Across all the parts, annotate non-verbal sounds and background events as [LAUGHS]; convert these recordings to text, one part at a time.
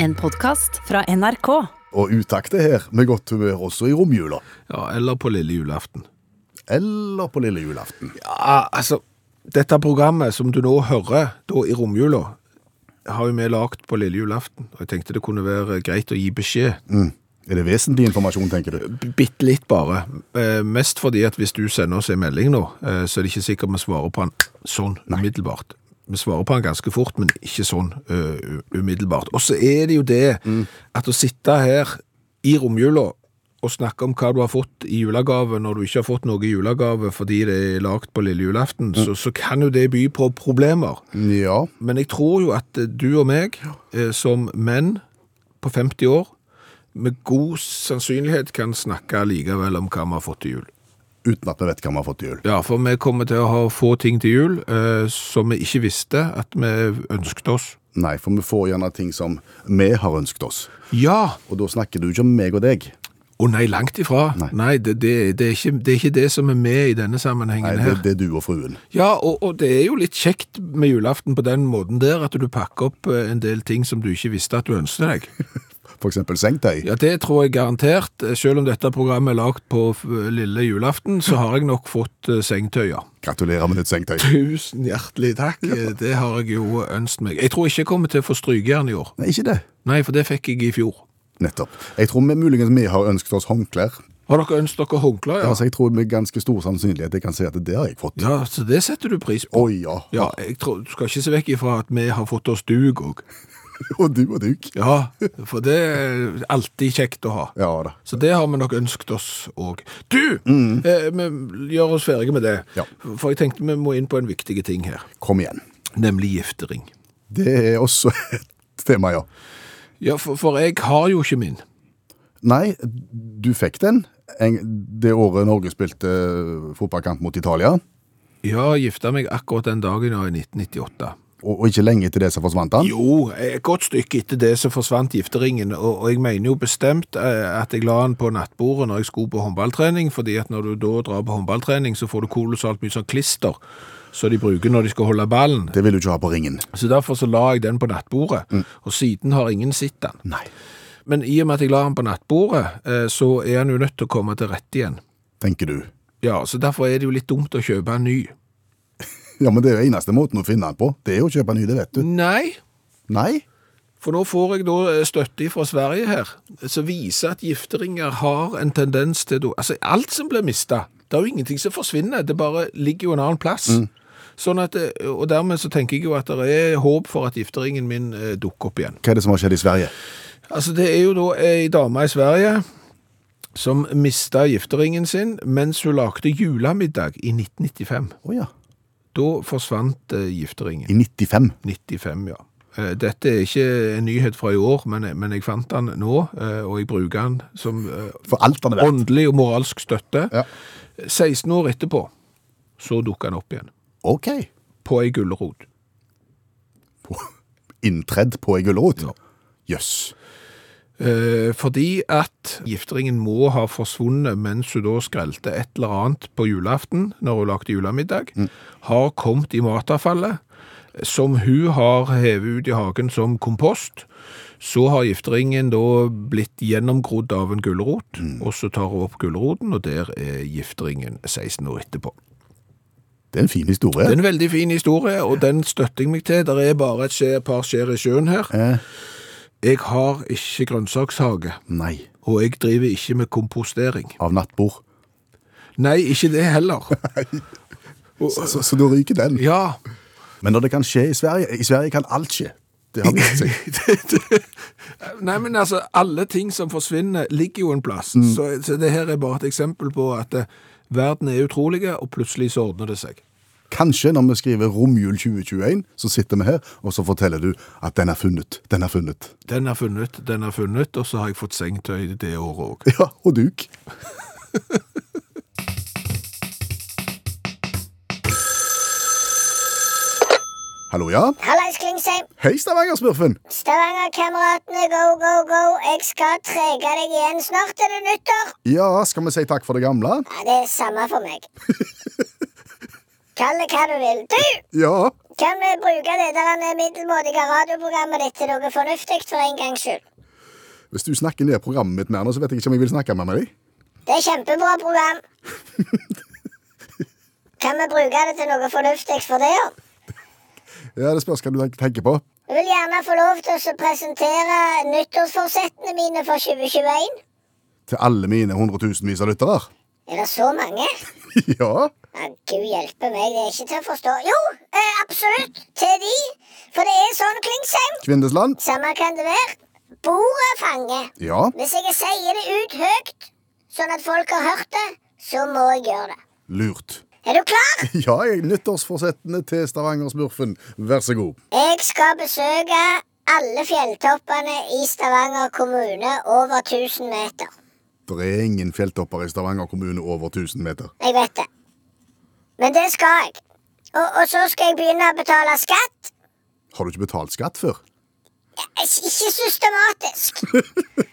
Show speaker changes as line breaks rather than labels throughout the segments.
En podkast fra NRK.
Og utakt er her, med godt humør også i romjula.
Ja, eller på lille julaften.
Eller på lille julaften.
Ja, altså, dette programmet som du nå hører da i romjula, har jo vi lagd på lille julaften. Og jeg tenkte det kunne være greit å gi beskjed.
Mm. Er det vesentlig informasjon, tenker du?
B- Bitte litt bare. Eh, mest fordi at hvis du sender oss en melding nå, eh, så er det ikke sikkert vi svarer på den sånn umiddelbart. Vi svarer på den ganske fort, men ikke sånn eh, u- umiddelbart. Og så er det jo det at å sitte her i romjula og snakke om hva du har fått i julegave når du ikke har fått noe i julegave fordi det er lagd på lille julaften, så, så kan jo det by på problemer.
Ja.
Men jeg tror jo at du og meg, eh, som menn på 50 år, med god sannsynlighet kan snakke likevel om hva vi har fått til jul.
Uten at vi vet hva vi har fått til jul.
Ja, for vi kommer til å ha få ting til jul eh, som vi ikke visste at vi ønsket oss.
Nei, for vi får gjerne ting som vi har ønsket oss.
Ja!
Og da snakker du ikke om meg og deg.
Å nei, langt ifra.
Nei.
Nei, det, det, det, er ikke, det er ikke det som er med i denne sammenhengen
Nei,
her.
det, det er du og fruen.
Ja, og, og det er jo litt kjekt med julaften på den måten der, at du pakker opp eh, en del ting som du ikke visste at du ønsket deg.
For eksempel sengetøy.
Ja, det tror jeg garantert. Selv om dette programmet er lagt på f- lille julaften, så har jeg nok fått eh, sengetøy, ja.
Gratulerer med nytt sengetøy.
Tusen hjertelig takk. Eh, Det har jeg jo ønsket meg. Jeg tror ikke jeg kommer til å få strykejern i år.
Nei, ikke det.
Nei, for det fikk jeg i fjor.
Nettopp. Jeg tror vi, muligens vi har ønsket oss håndklær.
Har dere ønsket dere håndklær?
Ja.
Ja.
Altså, jeg tror med ganske stor sannsynlighet jeg kan si at det har jeg fått. Å
ja, så det setter du pris på.
ja.
Ja, jeg tror, du skal ikke se vekk ifra at vi har fått oss dug òg.
[LAUGHS] Og du og duk.
Ja, for det er alltid kjekt å ha.
Ja da.
Så det har vi nok ønsket oss òg. Du! Eh, vi gjør oss ferdige med det.
Ja.
For jeg tenkte vi må inn på en viktig ting her.
Kom igjen.
Nemlig giftering.
Det er også [LAUGHS] et tema, ja.
Ja, for, for jeg har jo ikke min.
Nei, du fikk den en, det året Norge spilte eh, fotballkamp mot Italia.
Jeg har gifta meg akkurat den dagen ja, i 1998.
Og, og ikke lenge etter det så forsvant han.
Jo, et godt stykke etter det så forsvant gifteringen, og, og jeg mener jo bestemt eh, at jeg la den på nattbordet når jeg skulle på håndballtrening, fordi at når du da drar på håndballtrening, så får du kolossalt mye sånn klister som de bruker når de skal holde ballen.
Det vil du ikke ha på ringen.
Så derfor så la jeg den på nattbordet, og siden har ingen sett den.
Nei.
Men i og med at jeg la den på nattbordet, eh, så er den jo nødt til å komme til rette igjen.
Tenker du.
Ja, så derfor er det jo litt dumt å kjøpe en ny.
Ja, men det er jo eneste måten å finne han på. Det er jo å kjøpe ny, det vet du.
Nei,
Nei?
for nå får jeg da eh, støtte fra Sverige her, som viser at gifteringer har en tendens til å- Altså, alt som blir mista. Det er jo ingenting som forsvinner, det bare ligger jo en annen plass. Sånn at, eh, Og dermed så tenker jeg jo at det er håp for at gifteringen min eh, dukker opp igjen.
Hva er det som har skjedd i Sverige?
Altså, det er jo da ei dame i Sverige som mista gifteringen sin mens hun lagde julemiddag i 1995.
Å ja.
Da forsvant eh, gifteringen.
I 95.
95, ja. Eh, Dette er ikke en nyhet fra i år, men, men jeg fant den nå, eh, og jeg bruker den som eh,
For alt han er verdt.
åndelig og moralsk støtte.
Ja.
16 år etterpå så dukket den opp igjen,
OK.
på ei gullerod.
Inntredd på ei gulrot. Jøss.
Eh, Fordi at gifteringen må ha forsvunnet mens hun da skrelte et eller annet på julaften, når hun lagde julemiddag, har kommet i matavfallet, som hun har hevet ut i hagen som kompost. Så har gifteringen da blitt gjennomgrodd av en gulrot, og så tar hun opp gulroten, og der er gifteringen 16 år etterpå.
Det er en fin historie.
Det er en veldig fin historie, og den støtter jeg meg til. Der er bare et skje- par skjer i sjøen her.
Eh,
Jeg har ikke grønnsakshage.
nei.
Og jeg driver ikke med kompostering.
Av nattbord.
Nei, ikke det heller.
Så, så, så da ryker den.
[LAUGHS] Ja,
Men når det kan skje i Sverige I Sverige kan alt skje. Det har vist seg.
[LAUGHS] Nei, men altså, alle ting som forsvinner ligger jo en plass. Så, så det her er bare et eksempel på at eh, verden er utrolige, og plutselig så ordner det seg.
Kanskje når vi skriver romjul 2021, så sitter vi her, og så forteller du at den er funnet. Den er funnet. [LAUGHS]
Den er funnet, den er funnet, og så har jeg fått sengetøy det året òg. [LAUGHS]
Ja, og duk. [LAUGHS] Hallo, ja?
Hallais, Klingsheim.
Hei, Stavanger-smurfen!
Stavanger-kameratene, go, go, go. Jeg skal trege deg igjen. Snart er det nyttår.
Ja, skal vi si takk for det gamle?
Ja, det er samme for meg. Kall det hva du vil. Du!
Ja.
Kan vi bruke det der middelmådige radioprogrammet ditt til noe fornuftig for en gangs skyld?
Hvis du snakker ned programmet mitt mer nå, så vet jeg ikke om jeg vil snakke mer med deg.
Det er kjempebra program. Kan vi bruke det til noe fornuftig for det, ja?
Ja, Det spørs hva du tenk- tenker på.
Jeg vil gjerne få lov til å presentere nyttårsforsettene mine for 2021.
Til alle mine hundretusenvis av lyttere. [LAUGHS]
Er det så mange?
Ja.
Ja, Gud hjelpe meg, det er ikke til å forstå. Jo, eh, absolutt. Til de. For det er sånn, Klingsheim.
Kvindesland.
Samme kan det være. Bordet fanger.
Ja.
Hvis jeg sier det ut høyt, sånn at folk har hørt det, så må jeg gjøre det.
Lurt.
Er du klar?
[LAUGHS] Ja, jeg nyttårsforsettene til Stavanger-smurfen. Vær så god.
Jeg skal besøke alle fjelltoppene i Stavanger kommune over 1000 meter.
Det er ingen fjelltopper i Stavanger kommune over 1000 meter.
Jeg vet det. Men det skal jeg. Og, og så skal jeg begynne å betale skatt.
Har du ikke betalt skatt før?
Ik- Ikke systematisk.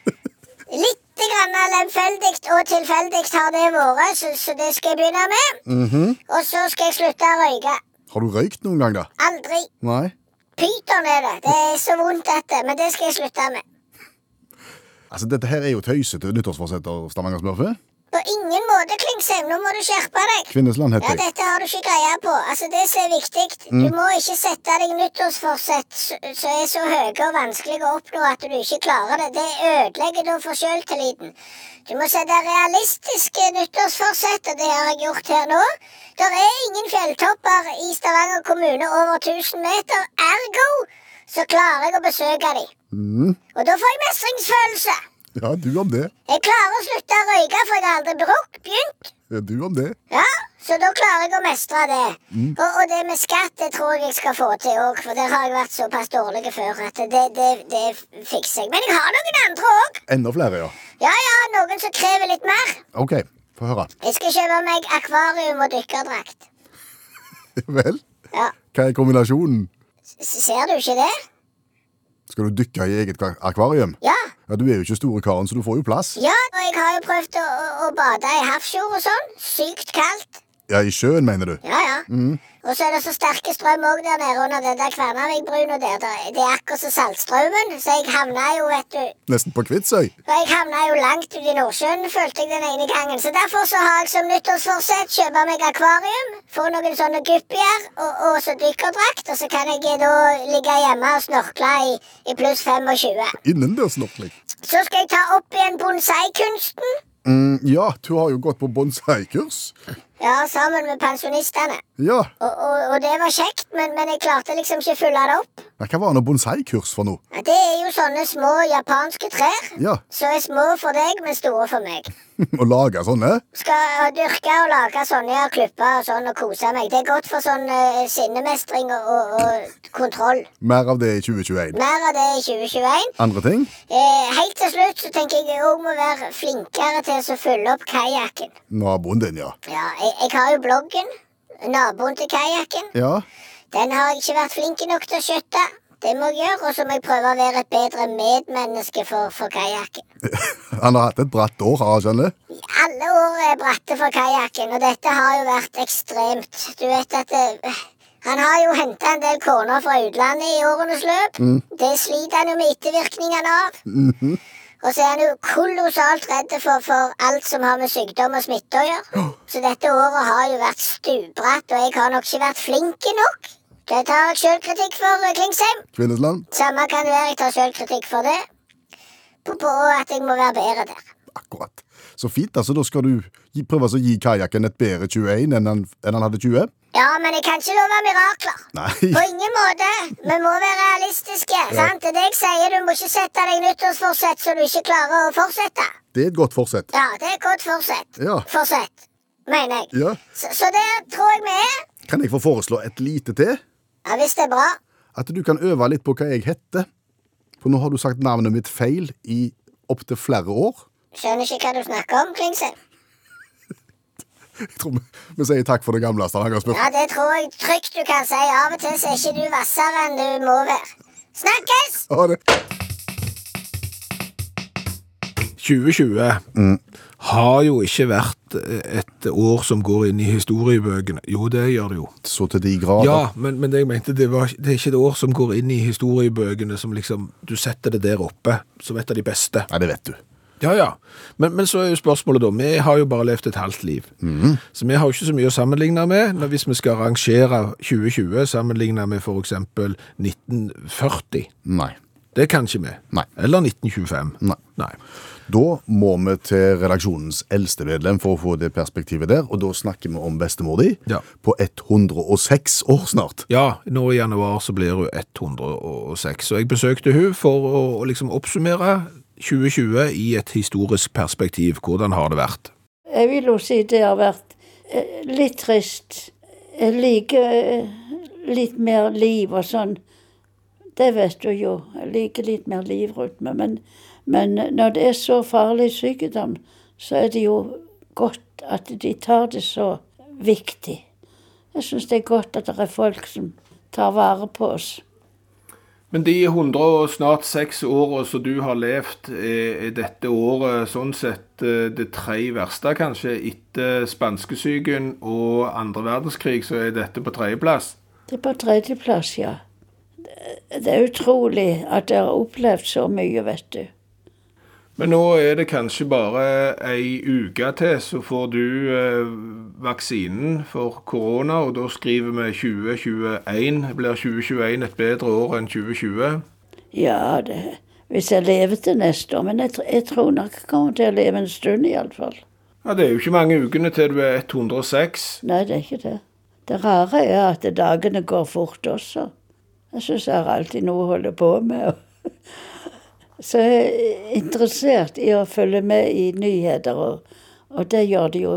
Litt grann lemfeldig og tilfeldig har det vært, så, så det skal jeg begynne med. Og så skal jeg slutte å røyke.
Har du røykt noen gang, da?
Aldri.
Nei.
Pyton er det. Det er så vondt, dette. Men det skal jeg slutte med.
Altså, Dette her er jo tøysete nyttårsforsetter, Stavanger-smurfe.
På ingen måte, Klingsheim. Nå må du skjerpe deg.
Kvinnesland
Ja,
heter jeg.
Dette har du ikke greie på. Altså, Det som er viktig Du må ikke sette deg nyttårsforsett s- som er så høye og vanskelige å oppnå at du ikke klarer det. Det ødelegger da for sjøltilliten. Du må sette realistiske nyttårsforsett, og det har jeg gjort her nå. Det er ingen fjelltopper i Stavanger kommune over 1000 meter. Ergo så klarer jeg å besøke dem. Og da får jeg mestringsfølelse.
Ja, du om det.
Jeg klarer å slutte å røyke, for jeg har aldri bruk- begynt.
Ja, Du om det.
Ja, så da klarer jeg å mestre det. Og, og det med skatt det tror jeg jeg skal få til òg, for der har jeg vært såpass dårlig før at det, det, det fikser jeg. Men jeg har noen andre òg.
Enda flere, ja.
Ja, ja, noen som krever litt mer.
OK, få høre. [LAUGHS]
Jeg skal kjøpe meg akvarium og dykkerdrakt.
Vel,
Ja,
hva er kombinasjonen?
s- Ser du ikke det?
Skal du dykke i eget akvarium?
Ja.
Ja, Du er jo ikke store karen, så du får jo plass.
Ja, og jeg har jo prøvd å, å- å bade i havsjord og sånn. Sykt kaldt.
Ja, i sjøen, mener du?
Ja, ja. Og så er det så sterke strøm òg der nede under den der Kværnavikbrua der. der- Det er akkurat som Saltstraumen, så jeg havna jo, vet du,
Nesten på Kvitsøy?
Og jeg havna jo langt ute i Nordsjøen, følte jeg den ene gangen. Så derfor så har jeg som nyttårsforsett kjøpe meg akvarium, få noen sånne guppier og, og så dykkerdrakt, og så kan jeg eh, da ligge hjemme og snorkle i, i pluss 25.
Innendørs liksom. snorkling?
Så skal jeg ta opp igjen bonsai-kunsten.
Mm, ja, du har jo gått på bonsai-kurs.
Ja, sammen med pensjonistene.
Ja.
Og, og, og det var kjekt, men, men jeg klarte liksom ikke å følge det opp.
ja, Hva var nå bonsai-kurs for noe?
Ja, Det er jo sånne små japanske trær.
Ja, [LAUGHS]
Så er små for deg, men store for meg.
Å lage sånne?
skal dyrke og lage sånne og klippe og sånn og kose meg. Det er godt for sånn eh, sinnemestring og, og, og kontroll.
Mer av det i 2021.
Mer av det i 2021.
Andre ting?
Eh, helt til slutt så tenker jeg jeg òg må være flinkere til å fylle opp kajakken.
Naboen din, ja.
Ja, jeg, jeg har jo bloggen. Naboen til kajakken.
Ja,
Den har jeg ikke vært flink nok til å skjøtte. Det må jeg gjøre. Og så må jeg prøve å være et bedre medmenneske for, for kajakken.
Han har hatt et bratt år, har han ikke han det?
Alle år er bratte for kajakken, og dette har jo vært ekstremt. Du vet at det, Han har jo henta en del koner fra utlandet i årenes løp. Det sliter han jo med ettervirkningene av. Og så er han jo kolossalt redd for, for alt som har med sykdom og smitte å gjøre. Så dette året har jo vært stupbratt, og jeg har nok ikke vært flink nok. Det tar jeg sjølkritikk for, eh, Klingsheim.
Kvinnesland?
Samme kan det være, jeg tar sjølkritikk for det. På, på at jeg må være bedre der.
Akkurat. Så fint, altså. Da skal du gi, prøve altså å gi kajakken et bedre 21 enn han, enn han hadde 20?
Ja, men jeg kan ikke love mirakler. På
Nei. [LAUGHS]
ingen måte. Vi må være realistiske. sant? Det er det jeg sier. Du må ikke sette deg nyttårsforsett så du ikke klarer å fortsette.
Det er et godt forsett.
Ja, det er et godt forsett.
Ja.
Forsett, mener jeg.
ja.
Så, så der tror jeg vi er.
Kan jeg få foreslå et lite til?
Ja, Hvis det er bra.
At du kan øve litt på hva jeg heter. For nå har du sagt navnet mitt feil i opptil flere år.
Skjønner ikke hva du snakker om, Klingsheim.
Jeg tror vi, vi sier takk for det gamle, Stavanger-smurfen.
Ja, det tror jeg trygt du kan si. Av og til så er ikke du hvassere enn du må være. Snakkes!
Ha det.
2020
Mm.
har jo ikke vært eh, et år som går inn i historiebøkene. Jo, det gjør det jo.
Så til de grader.
Ja, men, men det jeg mente, det, var, det er ikke et år som går inn i historiebøkene som liksom Du setter det der oppe som et av de beste.
Nei, det vet du.
Ja, ja. Men, men så er jo spørsmålet da Vi har jo bare levd et halvt liv.
Mhm.
Så vi har jo ikke så mye å sammenligne med når, hvis vi skal rangere 2020 sammenlignet med f.eks. 1940.
Nei.
Det kan ikke vi.
Nei.
Eller 1925.
Nei. Da må vi til redaksjonens eldste medlem for å få det perspektivet der, og da snakker vi om bestemor di
Ja.
på 106 år snart.
Ja, nå i januar så blir hun 106, og jeg besøkte hun for å, å liksom oppsummere 2020 i et historisk perspektiv. Hvordan har det vært?
Jeg vil jo si det har vært eh, litt trist. Jeg liker eh, litt mer liv og sånn. Det vet du jo. Jeg liker litt mer livrytme. Men, men når det er så farlig sykdom, så er det jo godt at de tar det så viktig. Jeg syns det er godt at det er folk som tar vare på oss.
Men de 100 og snart seks åra som du har levd, er dette året sånn sett det tre verste, kanskje? Etter spanskesyken og andre verdenskrig, så er dette på tredjeplass.
Det er på tredjeplass, ja. Det- Det er utrolig at jeg har opplevd så mye, vet du.
Men nå er det kanskje bare ei uke til, så får du eh, vaksinen for korona. Og da skriver vi 2021. Blir 2021 et bedre år enn 2020?
Ja, det, hvis jeg lever til neste år. Men jeg, tr- jeg tror nok jeg kommer til å leve en stund, iallfall.
Ja, Det er jo ikke mange ukene til du er 106.
Nei, det er ikke det. Det rare er at dagene går fort også. Jeg syns jeg har alltid noe å holde på med. [LAUGHS] Så jeg er interessert i å følge med i nyheter, og, og det gjør det jo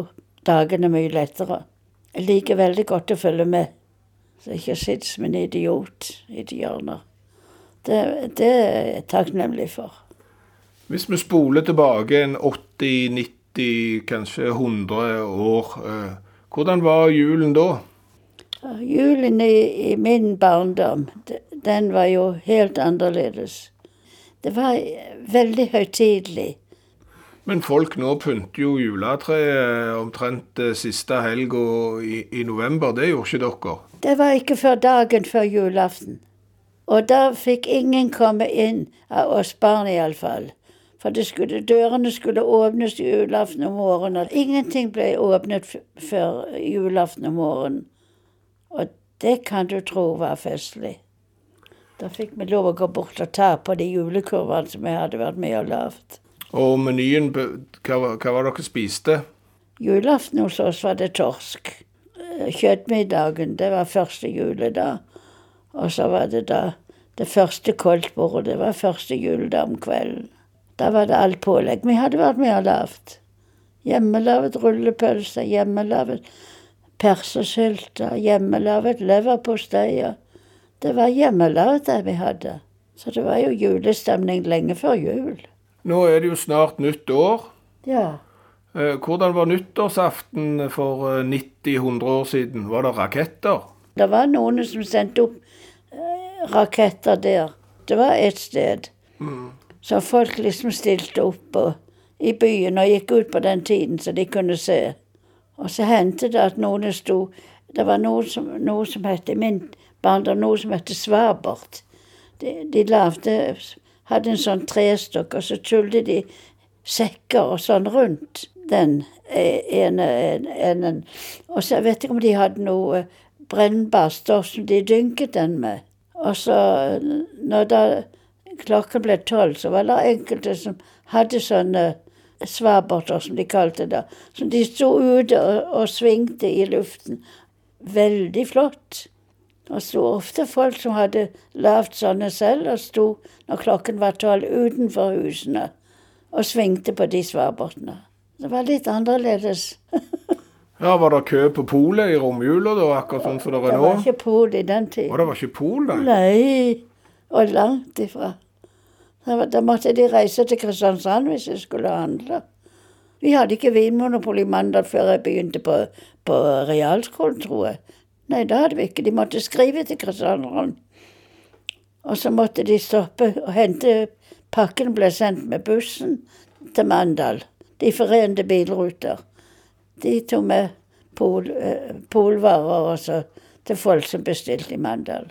dagene mye lettere. Jeg liker veldig godt å følge med, så jeg ikke sitter som en idiot i de hjørner. Det, det er jeg takknemlig for.
Hvis vi spoler tilbake en 80, 90, kanskje 100 år, eh, hvordan var julen da?
Julen i, i min barndom, d- den var jo helt annerledes. Det var eh, veldig høytidelig.
Men folk nå pynter jo juletreet omtrent eh, siste helg og i, i november. Det gjorde ikke dere.
Det var ikke før dagen før julaften. Og da fikk ingen komme inn, av oss barn iallfall. For det skulle, dørene skulle åpnes julaften om morgenen. og Ingenting ble åpnet f før julaften om morgenen. Og det kan du tro var festlig. Da fikk vi lov å gå bort og ta på de julekurvene som jeg hadde vært med og lagd.
Og menyen, be- hva, var- hva var dere spiste?
Julaften hos oss var det torsk. Eh, Kjøttmiddagen, det var første juledag. Og så var det da det første koldtbordet. Det var første juledag om kvelden. Da var det alt pålegg vi hadde vært med og lagd. Hjemmelaget rullepølse, hjemmelaget persesylter, hjemmelaget leverposteia. Det var hjemmelaget det vi hadde. Så det var jo julestemning lenge før jul.
Nå er det jo snart nytt år.
Ja.
Eh, Hvordan var nyttårsaften for eh, 90-100 år siden? Var det raketter?
Det var noen som sendte opp eh, raketter der. Det var et sted. Så folk liksom stilte opp og, i byen og gikk ut på den tiden så de kunne se. Og så hendte det at noen sto Det var noe som, noe som het i min barndom noe som het svabert. De, de lagde Hadde en sånn trestokk, og så tullet de sekker og sånn rundt den eh, ene en- enden. Og så jeg vet ikke om de hadde noe eh, brennbart stoff som de dynket den med. Og så når da klokken ble tolv, så var det enkelte som hadde sånne svaberter, som de kalte det. Som de sto ute og, og svingte i luften. Veldig flott. Og sto ofte folk som hadde lagd sånne selv, og sto når klokken var tolv utenfor husene og svingte på de svabertene. Det var litt annerledes.
Ja, Var det kø på polet i romjula da, akkurat sånn som det
Det
er nå?
var ikke pol i den tiden.
Og det var ikke pol, nei?
Nei, og langt ifra. Da var- Da måtte de reise til Kristiansand hvis de skulle handle. Vi hadde ikke vinmonopol i Mandal før jeg begynte på, på realskolen, tror jeg. Nei, det hadde vi ikke. De måtte skrive til Kristiansand. Og så måtte de stoppe og hente Pakken ble sendt med bussen til Mandal. De forente bilruter. De tok med pol, eh, polvarer også til folk som bestilte i Mandal.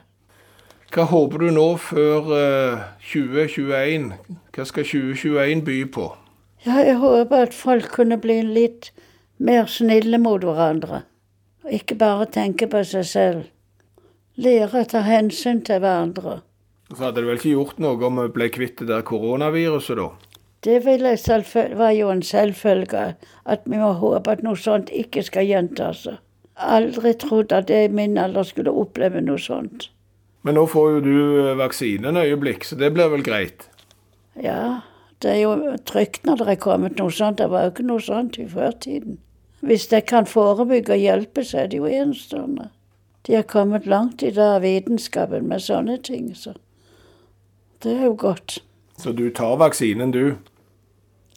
Hva håper du nå før eh, 2021? Hva skal 2021 by på?
Ja, jeg håper at folk kunne bli litt mer snille mot hverandre. Og ikke bare tenke på seg selv. Lære å ta hensyn til hverandre.
Så hadde det vel ikke gjort noe om vi ble kvitt det der koronaviruset, da?
Det vil jeg selvføl- var jo en selvfølge, at vi må håpe at noe sånt ikke skal gjenta seg. Aldri trodd at jeg i min alder skulle oppleve noe sånt.
Men nå får jo du eh, vaksinen øyeblikk, så det blir vel greit?
Ja, det er jo trygt når det er kommet noe sånt. Det var jo ikke noe sånt i førtiden. Hvis det kan forebygge og hjelpe, så er det jo enestående. De har kommet langt i dag, vitenskapen, med sånne ting, så det er jo godt.
Så du tar vaksinen, du?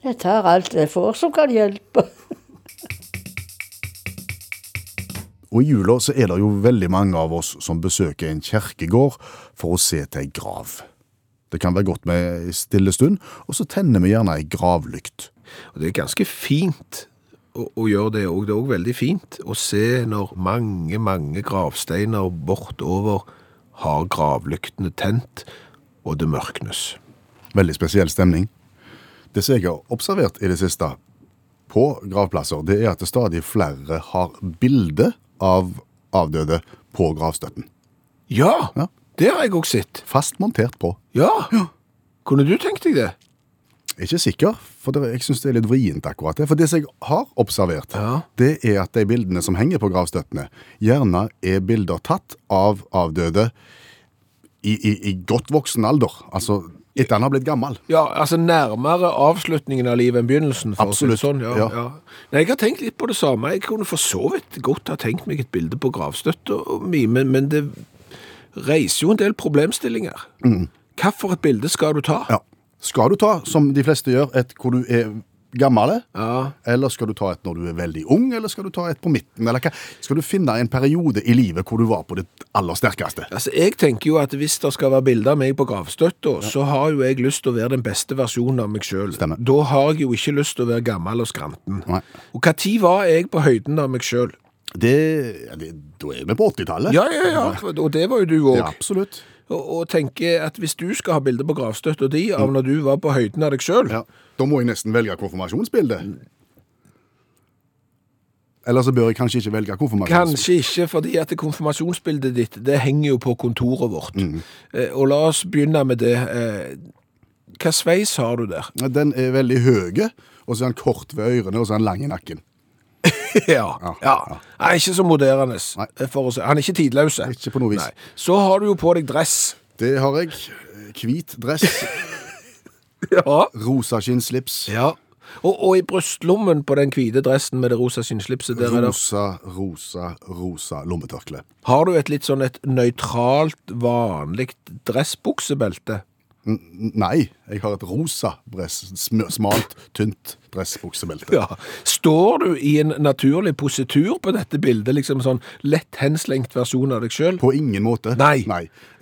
Jeg tar alt jeg får som kan hjelpe.
Og i jula så er det jo veldig mange av oss som besøker en kjerkegård for å se til ei grav. Det kan være godt med ei stille stund, og så tenner vi gjerne ei gravlykt.
Og Det er ganske fint å, å gjøre det òg. Det er òg veldig fint å se når mange, mange gravsteiner bortover har gravlyktene tent, og det mørknes.
Veldig spesiell stemning. Det som jeg har observert i det siste på gravplasser, det er at det stadig flere har bilde av avdøde på gravstøtten.
Ja!
Ja.
Det har jeg òg sett.
Fast montert på.
Ja. Kunne du tenkt deg det?
Jeg er ikke sikker, for det, jeg syns det er litt vrient akkurat det. For det som jeg har observert,
Ja.
det er at de bildene som henger på gravstøttene, gjerne er bilder tatt av avdøde i, i, i godt voksen alder. Altså etter han har blitt gammel.
Ja, altså nærmere avslutningen av livet enn begynnelsen. for å si det
Absolutt,
Sånn, ja, ja.
ja.
Nei, Jeg har tenkt litt på det samme. Jeg kunne for så vidt godt ha tenkt meg et bilde på gravstøtta mi, men, men det reiser jo en del problemstillinger. Hvilket et bilde skal du ta?
Mm. Ja. Skal du ta, som de fleste gjør, et hvor du er gammel?
Ja.
Eller skal du ta et når du er veldig ung, eller skal du ta et på midten? Eller hva? Skal du finne en periode i livet hvor du var på ditt aller sterkeste?
Altså, Jeg tenker jo at hvis det skal være bilde av meg på gravstøtta, så har jo jeg lyst til å være den beste versjonen av meg sjøl.
Stemmer.
Da har jeg jo ikke lyst til å være gammel og skranten.
Nei.
Og når var jeg på høyden av meg sjøl?
Det, ja, det, da er vi på 80-tallet.
Ja, ja, ja, og det var jo du òg.
Ja, absolutt.
Og, og tenker at hvis du skal ha bilde på gravstøtta di av når du var på høyden av deg sjøl
Mm. Ja. Da må jeg nesten velge konfirmasjonsbilde. Eller så bør jeg kanskje ikke velge konfirmasjonsbilde.
Kanskje ikke, fordi at konfirmasjonsbildet ditt det henger jo på kontoret vårt.
Mm.
Eh, og la oss begynne med det. Eh, hva sveis har du
[LAUGHS]
der?
Den er veldig høy, og så er den kort ved ørene, og så er den lang i nakken.
ja. ja. Nei, ikke så moderne.
Nei.
eh, For å si. Han er ikke tidløs.
Ikke på noe vis.
Nei. Så har du jo på deg dress.
Det har jeg. Hvit dress,
Ja.
rosa skinnslips,
ja. Og, og i brystlommen på den hvite dressen med det rosa skinnslipset der er det
rosa, rosa, rosa lommetørkle.
Har du et litt sånn et nøytralt, vanlig dressbuksebelte?
N- Nei, jeg har et rosa dress, sm- smalt, tynt dressbuksebelte.
[LAUGHS] Ja. Står du i en naturlig positur på dette bildet, liksom sånn lett henslengt versjon av deg sjøl?
På ingen måte.
Nei.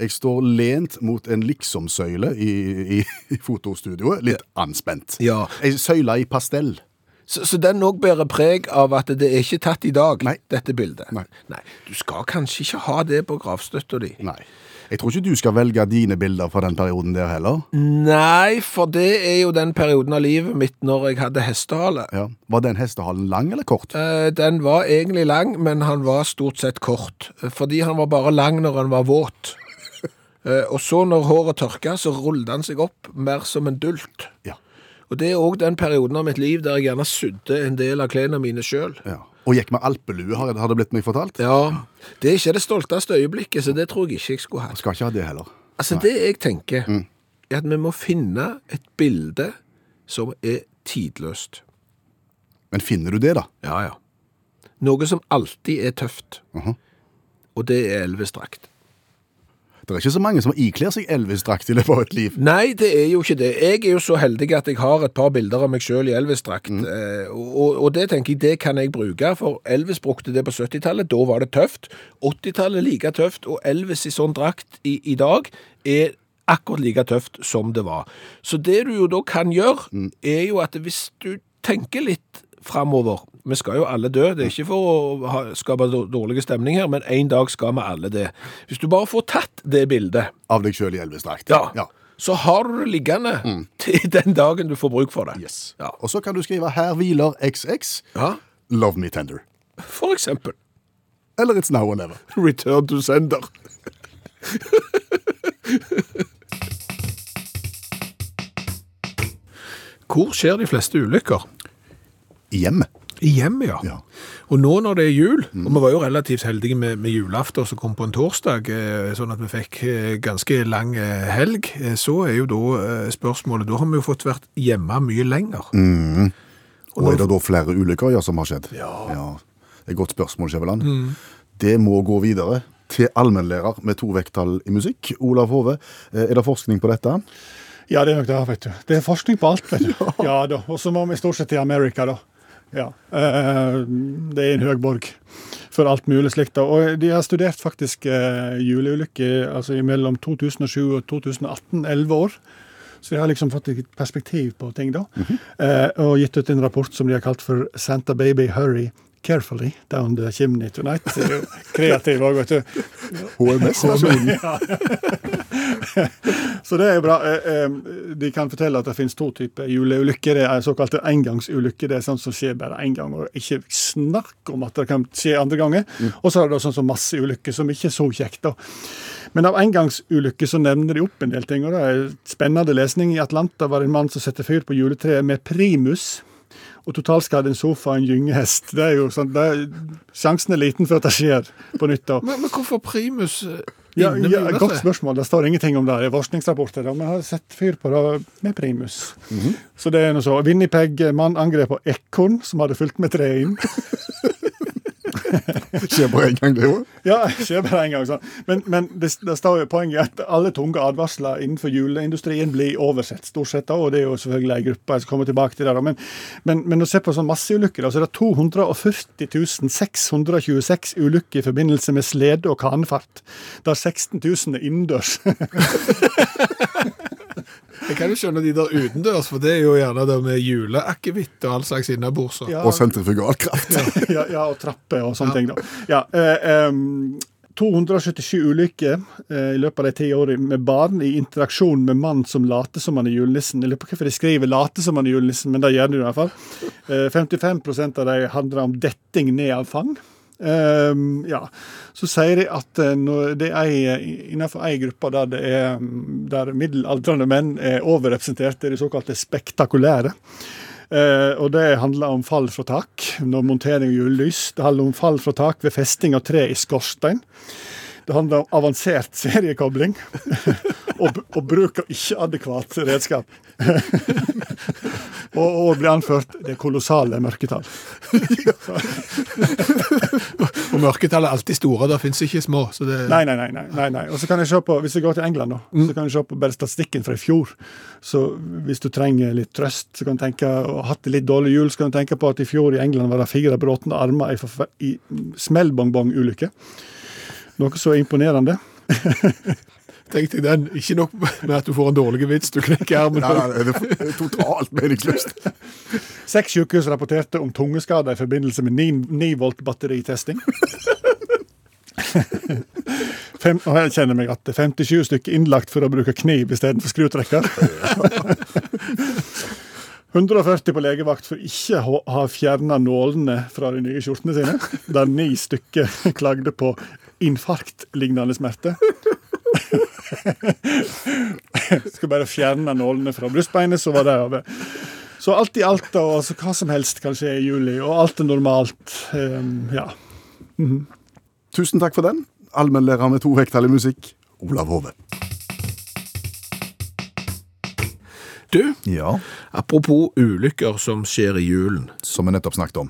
Jeg står lent mot en liksomsøyle i, i, i fotostudioet, litt anspent.
Ja.
Ei søyle i pastell.
Så, så den òg bærer preg av at det er ikke tatt i dag,
Nei.
dette bildet.
Nei.
Du skal kanskje ikke ha det på gravstøtta di.
Nei. Jeg tror ikke du skal velge dine bilder fra den perioden der heller.
Mm. Nei, for det er jo den perioden av livet mitt når jeg hadde hestehale.
Ja. Var den hestehalen lang eller kort?
Eh, Den var egentlig lang, men han var stort sett kort. eh, Fordi han var bare lang når han var våt. Eh, Og så når håret tørka, så rullet han seg opp mer som en dult.
Ja.
Og det er òg den perioden av mitt liv der jeg gjerne sydde en del av klærne mine sjøl.
ja. Og gikk med alpelue, har har det blitt meg fortalt?
Ja, det er ikke det stolteste øyeblikket, så det tror jeg ikke jeg skulle hatt.
Skal ikke ha det heller.
Altså, det jeg tenker, er at vi må finne et bilde som er tidløst.
Men finner du det, da?
Ja, ja. Noe som alltid er tøft.
Mhm.
Og det er Elvis-drakt.
Det er ikke så mange som ikler seg Elvis-drakt i løpet av et liv.
Nei, det er jo ikke det. Jeg er jo så heldig at jeg har et par bilder av meg sjøl i Elvis-drakt. Eh, og, og det tenker jeg, det kan jeg bruke, for Elvis brukte det på 70-tallet. Da var det tøft. 80-tallet like tøft, og Elvis i sånn drakt i, i dag er akkurat like tøft som det var. Så det du jo da kan gjøre, er jo at hvis du tenker litt framover Vi skal jo alle dø. Det er ikke for å ha- skape dår- dårlig stemning her, men en dag skal vi alle det. Hvis du bare får tatt det bildet,
Av deg sjøl i Elvis-drakt.
ja, Mm. så har du det liggende [LAUGHS] til den dagen du får bruk for det.
Yes.
Ja.
Og så kan du skrive 'Her hviler XX'.
ja.
Love me tender.
For eksempel.
Eller It's now or never.
Return to sender. Hvor skjer de fleste ulykker?
Hjem.
I hjemmet, ja. Mm.
Ja.
Og nå når det er jul, og vi var jo relativt heldige med, med julaften som kom på en torsdag, eh, sånn at vi fikk eh, ganske lang eh, helg, eh, så er jo da eh, spørsmålet Da har vi jo fått vært hjemme mye lenger.
Og er det da flere ulykker ja, som har skjedd? Ja. Det er et godt spørsmål, Skjæveland. Det må gå videre til allmennlærer med to vekttall i musikk. Olav Hove, eh, er det forskning på dette?
Ja, det er nok det, vet du. Det er forskning på alt, vet du. Ja da. Og så må vi stort sett til Amerika, da. Ja. Eh, Det er en høgborg for alt mulig slikt. da. Og de har studert faktisk eh, juleulykker altså mellom 2007 og 2018, 11 år. Så de har liksom fått et perspektiv på ting, da. Eh, Og gitt ut en rapport som de har kalt for 'Santa Baby Hurry Carefully Down the Chimney Tonight'. Det er jo Kreativ òg, vet du.
HMS-versjonen.
[LAUGHS] Så det er bra. Eh, eh, De kan fortelle at det finnes to typer juleulykker. Det er såkalte engangsulykker. Det er sånt som skjer bare én gang, og ikke snakk om at det kan skje andre ganger. Og så er det da sånn som masseulykker, som ikke er så kjekt, da. Men av engangsulykker så nevner de opp en del ting, og det er spennende lesning. I Atlanta var det en mann som satte fyr på juletreet med primus. Og totalskadd en sofa og en gyngehest. Det er jo sånn, det er, sjansen er liten for at det skjer på nytt. da.
Men, men hvorfor primus eh,
Ja,
inne med
ja,
juletreet?
godt spørsmål. Det står ingenting om det. Det er forskningsrapporter. da. Vi har sett fyr på det med primus. Så det er noe så. Winnipeg, mann angrep på ekorn som hadde fulgt med treet inn.
Skjer bare en gang, det òg.
[LAUGHS] Ja, skjer bare en gang sånn. Men, men det, det står jo poenget at alle tunge advarsler innenfor juleindustrien blir oversett, stort sett. da, Og det er jo selvfølgelig ei gruppe jeg skal komme tilbake til det. da. Men, men, men å se på sånn masseulykker, da, så er det 240 626 ulykker i forbindelse med slede- og kanefart. Der 16 000 er innendørs.
Jeg kan jo skjønne de der utendørs, for det er jo gjerne det med juleakevitt og all slags innabords. og-
Ja.
Og sentrifugalkraft. [LAUGHS]
[LAUGHS] ja, ja, og trapper og sånne ting. da. Ja, eh, em, 277 ulykker eh, i løpet av de ti årene med barn i interaksjon med mann som later som han er julenissen. Jeg lurer på hvorfor de skriver 'later som han er julenissen', men det gjør de i hvert fall. Eh, 55 av de handler om detting ned av fang. Ehm, ja. Så sier de at eh, når det er ei- innenfor ei gruppe der, det er, mm, der middelaldrende menn er overrepresentert, det er de såkalte spektakulære. Eh, og det handler om fall fra tak når montering av julelys. Det handler om fall fra tak ved festing av tre i skorstein. Det handler om avansert seriekobling [LAUGHS] og, og bruk av ikke-adekvat redskap. [LAUGHS] og, og blir anført det kolossale mørketall.
Og mørketall er alltid store, det fins ikke små. Så det,
Nei, nei, nei. nei, nei, nei. Og så kan jeg se på, Hvis jeg går til England, da, så kan jeg se på bare statistikken fra i fjor. Så Hvis du trenger litt trøst så kan du tenke, og har hatt det litt dårlig jul, så kan du tenke på at i fjor i England var det fire bråtne armer i, forfe- i smellbongbong-ulykke. Noe så imponerende.
tenkte jeg den. Ikke nok med at du får en dårlig vits, du knekker armen.
Nei, nei, det er totalt meningsløst.
Seks sykehus rapporterte om tungeskader i forbindelse med 9, 9 volt batteritesting. [LAUGHS] Fem, og her kjenner jeg meg at det er 57 stykker innlagt for å bruke kniv istedenfor skrutrekker. [LAUGHS] 140 på legevakt for ikke å ha fjerna nålene fra de nye skjortene sine. Der ni stykker [LAUGHS] klagde på infarktlignende smerte. [LAUGHS] Skulle bare fjerne nålene fra brystbeinet, så var det over. Så alt i alt, da, altså hva som helst kan skje i juli, og alt er normalt. ehm, ja.
Tusen takk for den. Allmennlærer med to vekttall i musikk, Olav Hove.
Du,
Ja.
apropos ulykker som skjer i julen,
Som vi nettopp snakket om.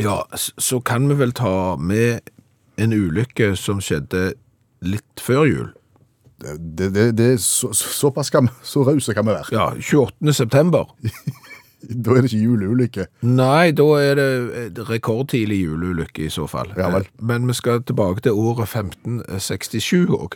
ja, s- så kan vi vel ta med en ulykke som skjedde litt før jul.
Det, det, det, det er så, så- såpass kan, så rause kan vi være.
Ja, 28. september.
Da er det ikke juleulykke.
Nei, da er det et rekordtidlig juleulykke i så fall. Eh,
Ja vel.
Men vi skal tilbake til året 1567 òg.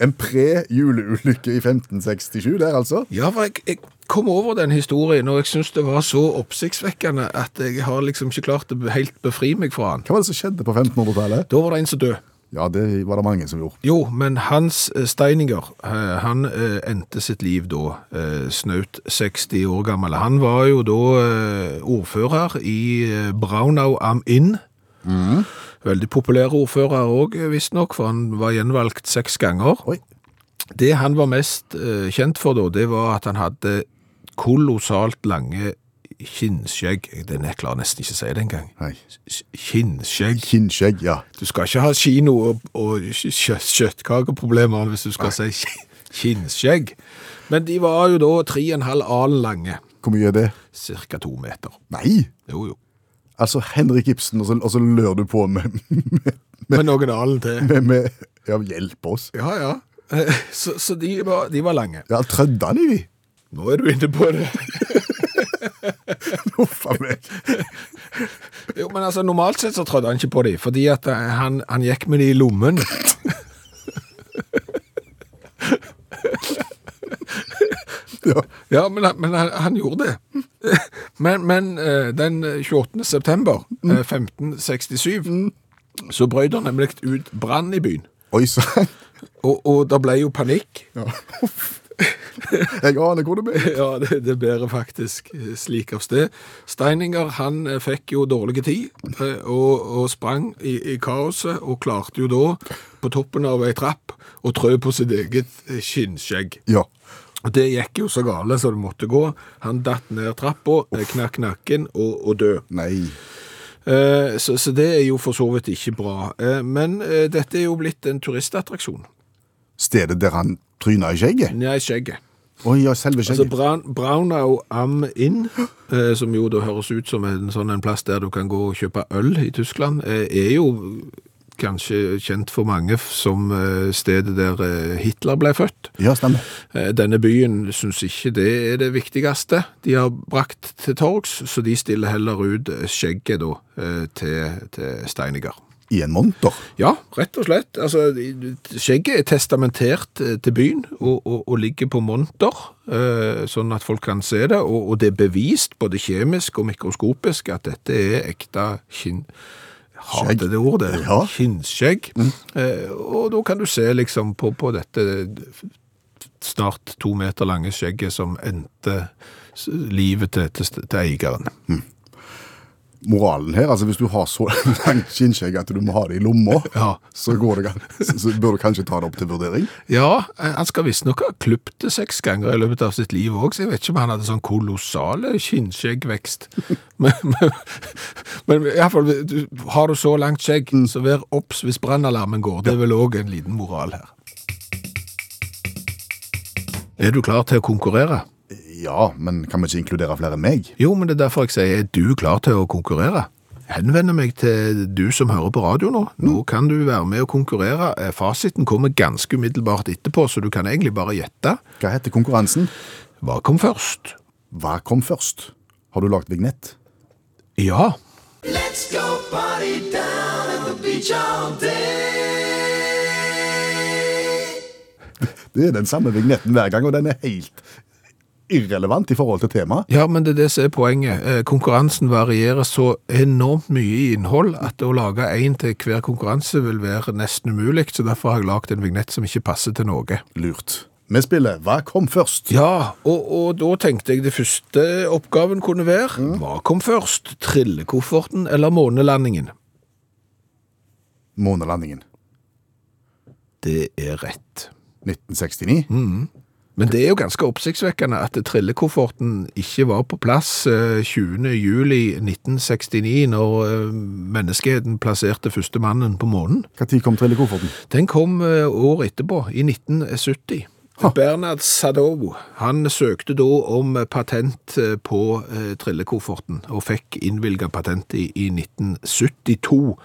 En pre-juleulykke i 1567 der, altså.
Ja, for jeg, jeg kom over den historien, og jeg syns det var så oppsiktsvekkende at jeg har liksom ikke klart å be- helt befri meg fra den.
Hva var det som skjedde på 1500-tallet?
Da var det en som døde.
Ja, det var det mange som gjorde.
Jo, men Hans eh, Steininger, eh, han eh, endte sitt liv da, eh, snaut 60 år gammel. Han var jo da eh, ordfører i eh, Braunau am Inn. Veldig populær ordfører òg, eh, visstnok, for han var gjenvalgt seks ganger.
Oi.
Det han var mest eh, kjent for da, det var at han hadde kolossalt lange kinnskjegg. Det jeg klarer nesten ikke å si det engang.
Nei.
S- Kinnskjegg.
Kinnskjegg, ja.
Du skal ikke ha kino- og, og kjø- kjøttkakeproblemer hvis du skal si kinnskjegg. Men de var jo da tre og en halv alen lange,
Hvor mye er det?
cirka to meter.
Nei!
Jo, jo.
Altså Henrik Ibsen, og så, og så lører du på med,
Med noen alen til.
med, med Ja, hjelp oss.
Ja, ja. Eh, Så, så de, var, de var lange.
Ja, trødde han i de?
Nå er du inne på det.
Huff a meg.
Jo, men altså, normalt sett så trådde han ikke på de, fordi at eh, han, han gikk med de i lommen.
Ja.
Ja, men, han- men han, han gjorde det. Men, men eh, den 28. september eh, 1567 så brøt det nemlig ut brann i byen.
Oi sann.
Og, og det ble jo panikk.
[LAUGHS] Jeg aner hvor det blir.
[LAUGHS] Ja, det, det bærer faktisk eh, slik av sted. Steininger han eh, fikk jo dårlig tid eh, og, og sprang i, i kaoset og klarte jo da på toppen av ei trapp å trø på sitt eget eh, skinnskjegg.
Ja.
Og Det gikk jo så gale som det måtte gå. Han datt ned trappa, eh, knakk nakken og, og døde.
Nei.
Eh, Så, så det er jo for så vidt ikke bra. Eh, Men eh, dette er jo blitt en turistattraksjon.
Stedet der han tryna i skjegget?
Nei, skjegget.
Oi, ja, selve
Altså
skjegget.
Brown, Brownau Am Inn, eh, som jo da høres ut som en sånn en plass der du kan gå og kjøpe øl i Tyskland, eh, er jo kanskje kjent for mange f- som eh, stedet der eh, Hitler ble født.
Ja, stemmer.
Eh, Denne byen syns ikke det er det viktigste de har brakt til torgs, så de stiller heller ut skjegget da eh, til, til Steiniger.
I en monter.
Ja, rett og slett. Altså, skjegget er testamentert eh, til byen og, og, og ligger på monter, eh, sånn at folk kan se det. Og, og det er bevist, både kjemisk og mikroskopisk, at dette er ekte kinn... Hater
Skjegg.
det ordet.
Ja. Mm.
Kinnskjegg. Eh, og da kan du se liksom på, på dette snart to meter lange skjegget som endte s- livet til, til, til eieren.
Moralen her, altså hvis du har så [LAUGHS] langt skinnskjegg at du må ha det i lomma,
Ja.
så, går det, gan- så så bør du kanskje ta det opp til vurdering.
Ja, eh, han skal visstnok ha klippet det seks ganger i løpet av sitt liv òg, så jeg vet ikke om han hadde sånn kolossal kinnskjeggvekst. [LAUGHS] men men, men iallfall, har du så langt skjegg, så vær obs hvis brannalarmen går. Det er vel òg en liten moral her. Er du klar til å konkurrere?
Ja, men kan vi ikke inkludere flere enn meg?
Jo, men det er derfor jeg sier er du klar til å konkurrere? Henvender meg til du som hører på radio nå. Nå kan du være med å konkurrere. Eh, Fasiten kommer ganske umiddelbart etterpå, så du kan egentlig bare gjette.
Hva heter konkurransen?
Hva kom først?
Hva kom først? Har du lagd vignett?
Ja.
Det er den samme vignetten hver gang, og den er helt irrelevant i forhold til temaet.
Ja, men det er det som er poenget. Eh, Konkurransen varierer så enormt mye i innhold at å lage én til hver konkurranse vil være nesten umulig, så derfor har jeg lagd en vignett som ikke passer til noe.
Lurt. Vi spiller Hva kom først?
Ja, og, og da tenkte jeg det første oppgaven kunne være Hva kom først? Trillekofferten eller månelandingen?
Månelandingen.
Det er rett.
1969.
Mm. Men det er jo ganske oppsiktsvekkende at trillekofferten ikke var på plass eh, 20. juli 1969, når eh, menneskeheten plasserte første mannen på månen.
Når kom trillekofferten?
Den kom eh, år etterpå, i 1970. Bernard Sadow han søkte da om patent eh, på eh, trillekofferten, og fikk innvilga patent i, i 1972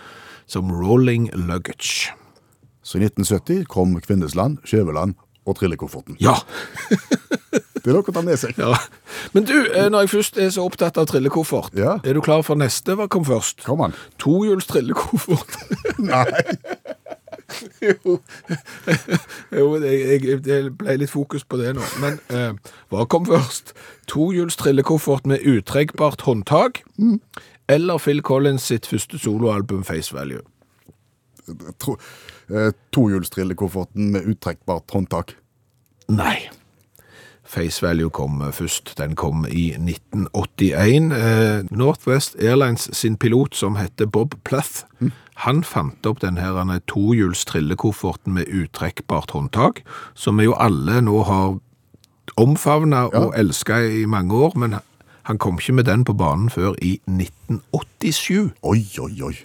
som rolling luggage.
Så i 1970 kom Kvindesland, Skjæveland og trillekofferten.
Ja,
Det er nok å ta med seg.
Ja. Men du, eh, når jeg først er så opptatt av trillekoffert,
Ja.
er du klar for neste? Hva kom først?
Kom an.
Tohjuls trillekoffert.
Nei.
[LAUGHS] Jo, jo jeg, jeg, det ble litt fokus på det nå. Men eh, hva kom først? Tohjuls trillekoffert med utrekkbart håndtak, eller Phil Collins sitt første soloalbum Face Value?
Tro, eh, Tohjulstrillekofferten med uttrekkbart håndtak.
Nei. Face Value kom eh, først. Den kom i 1981. Eh, Northwest Airlines sin pilot, som heter Bob Plath, han fant opp den her han er tohjuls trillekofferten med uttrekkbart håndtak, som vi jo alle nå har omfavna og elska i mange år, men han kom ikke med den på banen før i 1987.
Oi, oi, oi.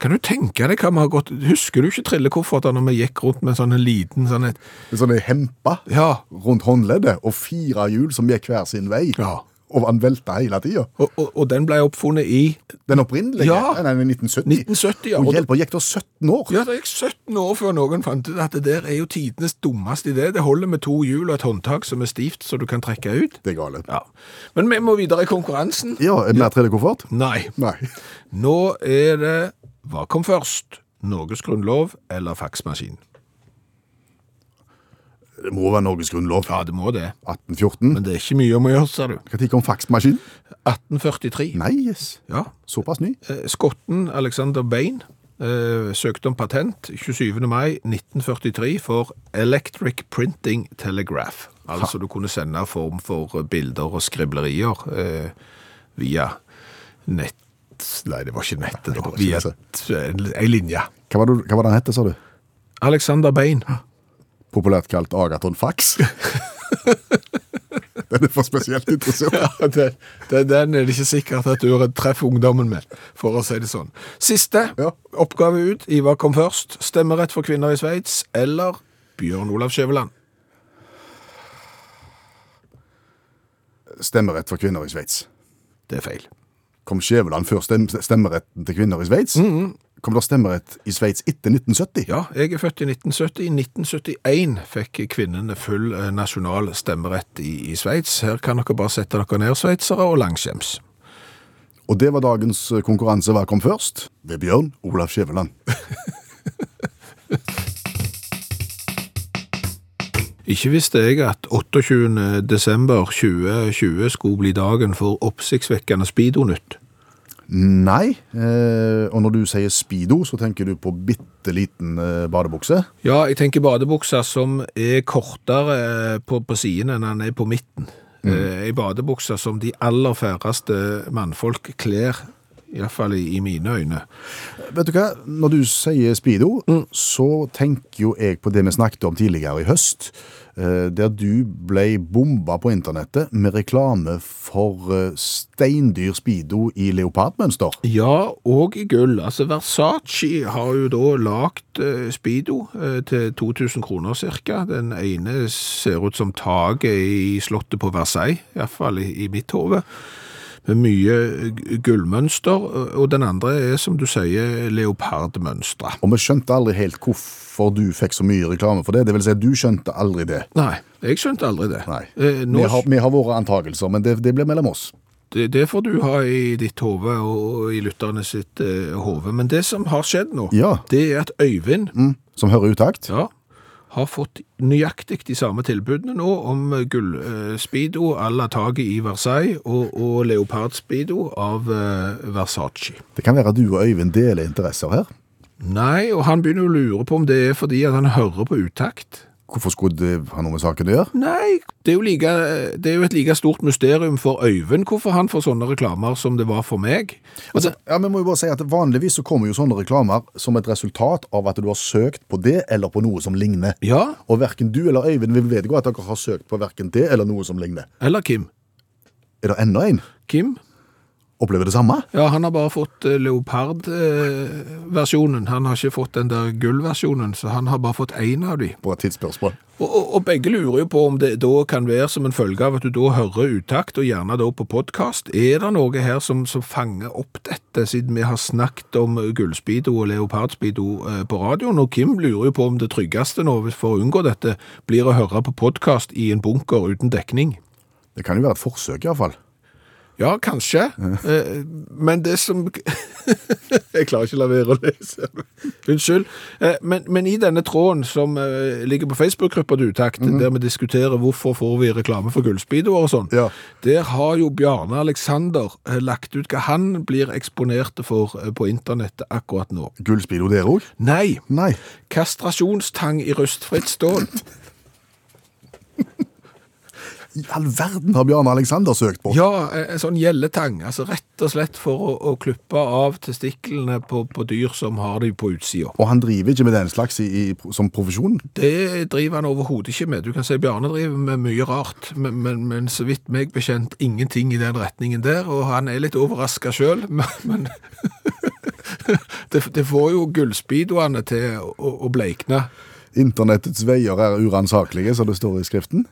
Kan du tenke deg hva vi har gått Husker du ikke trillekoffertene når vi gikk rundt med sånn en liten sånn et
En sånn hempa
Ja,
rundt håndleddet, og fire hjul som gikk hver sin vei.
Ja.
Og han velta hele tida.
og, og, og den ble oppfunnet i
Den opprinnelige?
Ja.
Nei, nei, 1970.
1970, ja.
Og
Og det-
hjelper, gikk det 17 år?
Ja, det gikk 17 år før noen fant ut at det der er jo tidenes dummeste idé. Det holder med to hjul og et håndtak som er stivt, så du kan trekke ut.
Det er galt.
Ja. Men vi må videre i konkurransen.
Ja, en mer 3D-koffert?
Nei.
Nei.
Nå er det Hva kom først? Norges grunnlov eller faksmaskin?
Det må være Norges grunnlov.
Ja, det må det.
1814.
Men det er ikke mye om å gjøre, ser du.
Når kom faksmaskin?
1843.
Nei, yes.
Ja.
Såpass ny.
Eh, Skotten Alexander Bain eh, søkte om patent 27. mai 1943 for Electric Printing Telegraph. Altså du kunne sende form for bilder og skriblerier eh, via nett... Nei, det var ikke nettet da.
var ikke
Via
nettet.
et- en en linje.
Hva var, det, hva var den hette, sa du?
Alexander Bain.
Populært kalt Agaton Fax. [LAUGHS] den er for spesielt interessert.
[LAUGHS] Ja, den, den, den er det ikke sikkert at du treffer ungdommen med, for å si det sånn. Siste
Ja.
oppgave ut. Ivar kom først. Stemmerett for kvinner i Sveits eller Bjørn Olav Skjæveland?
Stemmerett for kvinner i Sveits.
Det er feil.
Kom Skjæveland før stem stemmeretten til kvinner i Sveits? Kom det stemmerett i Sveits etter 1970?
Ja, jeg er født i 1970. I 1971 fikk kvinnene full eh, nasjonal stemmerett i, i Sveits. Her kan dere bare sette dere ned, sveitsere, og langskjems.
Og det var dagens eh, konkurranse Hva kom først? Ved Bjørn Olav Skjæveland.
Ikke visste jeg at 28. desember 2020 skulle bli dagen for oppsiktsvekkende speedonytt.
Nei, eh, og når du sier speedo, så tenker du på bitte liten eh, badebukse.
Ja, jeg tenker badebukser som er kortere eh, på, på siden enn han er på midten. Eh, Ei badebukser som de aller færreste mannfolk kler, iallfall i, i mine øyne.
Vet du hva, når du sier speedo,
Mm.
så tenker jo jeg på det vi snakket om tidligere i høst, eh, der du ble bomba på internettet med reklame for eh, steindyr speedo i leopardmønster.
Ja, og i gull. Altså Versace har jo da lagt eh, Speedo eh, til 2000 kroner cirka. Den ene ser ut som taket i slottet på Versailles, iallfall i, i mitt hode. Med mye gu- gullmønster, og den andre er som du sier leopardmønstra.
Og vi skjønte aldri helt hvorfor du fikk så mye reklame for det. Det vil si, at du skjønte aldri det.
Nei, jeg skjønte aldri det.
Nei.
Eh, nå,
Vi har, vi har våre antakelser, men det, det ble mellom oss.
det, det får du ha i ditt hode og i lytterne sitt eh, hode. Men det som har skjedd nå,
Ja.
det er at Øyvind
mm, Som hører utakt.
Ja, har fått nøyaktig de samme tilbudene nå om gullspeedo à la taket i Versailles og, og leopardspeedo av eh, Versace.
Det kan være at du og Øyvind deler interesser her.
Nei, og han begynner å lure på om det er fordi at han hører på utakt.
Hvorfor skulle det ha noe med saken å gjøre?
Nei, det er, jo like, det er jo et like stort mysterium for Øyvind hvorfor han får sånne reklamer som det var for meg. Altså, Og det-
Ja, men må jo bare si at Vanligvis så kommer jo sånne reklamer som et resultat av at du har søkt på det eller på noe som ligner.
ja,
Og verken du eller Øyvind vil vedgå at dere har søkt på verken det eller noe som ligner.
eller Kim.
Er det enda en?
Kim?
Opplever det samme?
Ja, han har bare fått eh, leopardversjonen. Han har ikke fått den der gullversjonen, så han har bare fått én av de.
Bare et tidsspørsmål.
Og, og, og begge lurer jo på om det da kan være som en følge av at du da hører utakt, og gjerne da på podkast. Er det noe her som, som fanger opp dette, siden vi har snakket om gullspeedo og leopardspeedo eh, på radioen? Og Kim lurer jo på om det tryggeste nå for å unngå dette, blir å høre på podkast i en bunker uten dekning.
Det kan jo være et forsøk, iallfall.
Ja, kanskje. Eh, Men det som [LAUGHS] Jeg klarer ikke å la være å lese. Unnskyld. Eh, Men, men i denne tråden som eh, ligger på Facebook-gruppa til Utakt, der vi diskuterer hvorfor får vi reklame for gullspeedoer og sånn,
Ja.
der har jo Bjarne Alexander eh, lagt ut hva han blir eksponert for eh, på internettet akkurat nå.
Gullspeedo der òg?
Nei!
Nei.
Kastrasjonstang i rustfritt stål.
I all verden har Bjarne Alexander søkt på.
Ja, en en sånn gjelletang. Altså rett og slett for å, å klippe av testiklene på, på dyr som har de på utsida.
Og han driver ikke med den slags i, i, som profesjon?
Det driver han overhodet ikke med. Du kan si Bjarne driver med mye rart, men, men, men så vidt meg bekjent ingenting i den retningen der, og han er litt overraska sjøl, [LAUGHS] men, men det, det får jo gullspeedoene til å, å bleikne.
Internettets veier er uransakelige, som det står i skriften.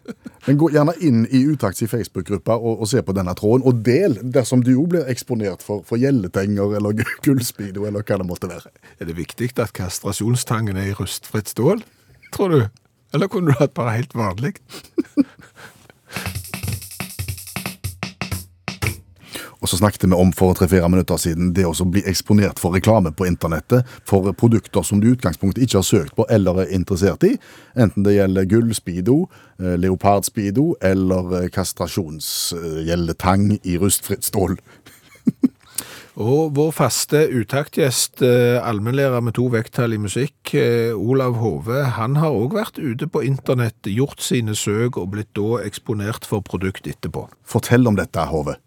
Men gå gjerne inn i Utakts i Facebook-gruppa og, og se på denne tråden, og del dersom du òg blir eksponert for, for gjelletenger eller gullspeedo eller hva det måtte være.
Er det viktig at kastrasjonstangen er i rustfritt stål, tror du? Eller kunne du hatt bare helt vanlig?
Og så snakket vi om for tre-fire minutter siden det å så bli eksponert for reklame på internettet for produkter som du i utgangspunktet ikke har søkt på eller er interessert i, enten det gjelder gullspeedo, eh, leopardspeedo eller eh, kastrasjonsgjeldetang i rustfritt stål.
Og vår faste utaktgjest, eh, allmennlærer med to vekttall i musikk, eh, Olav Hove, han har òg vært ute på internett, gjort sine søk og blitt da eksponert for produkt etterpå.
Fortell om dette, Hove.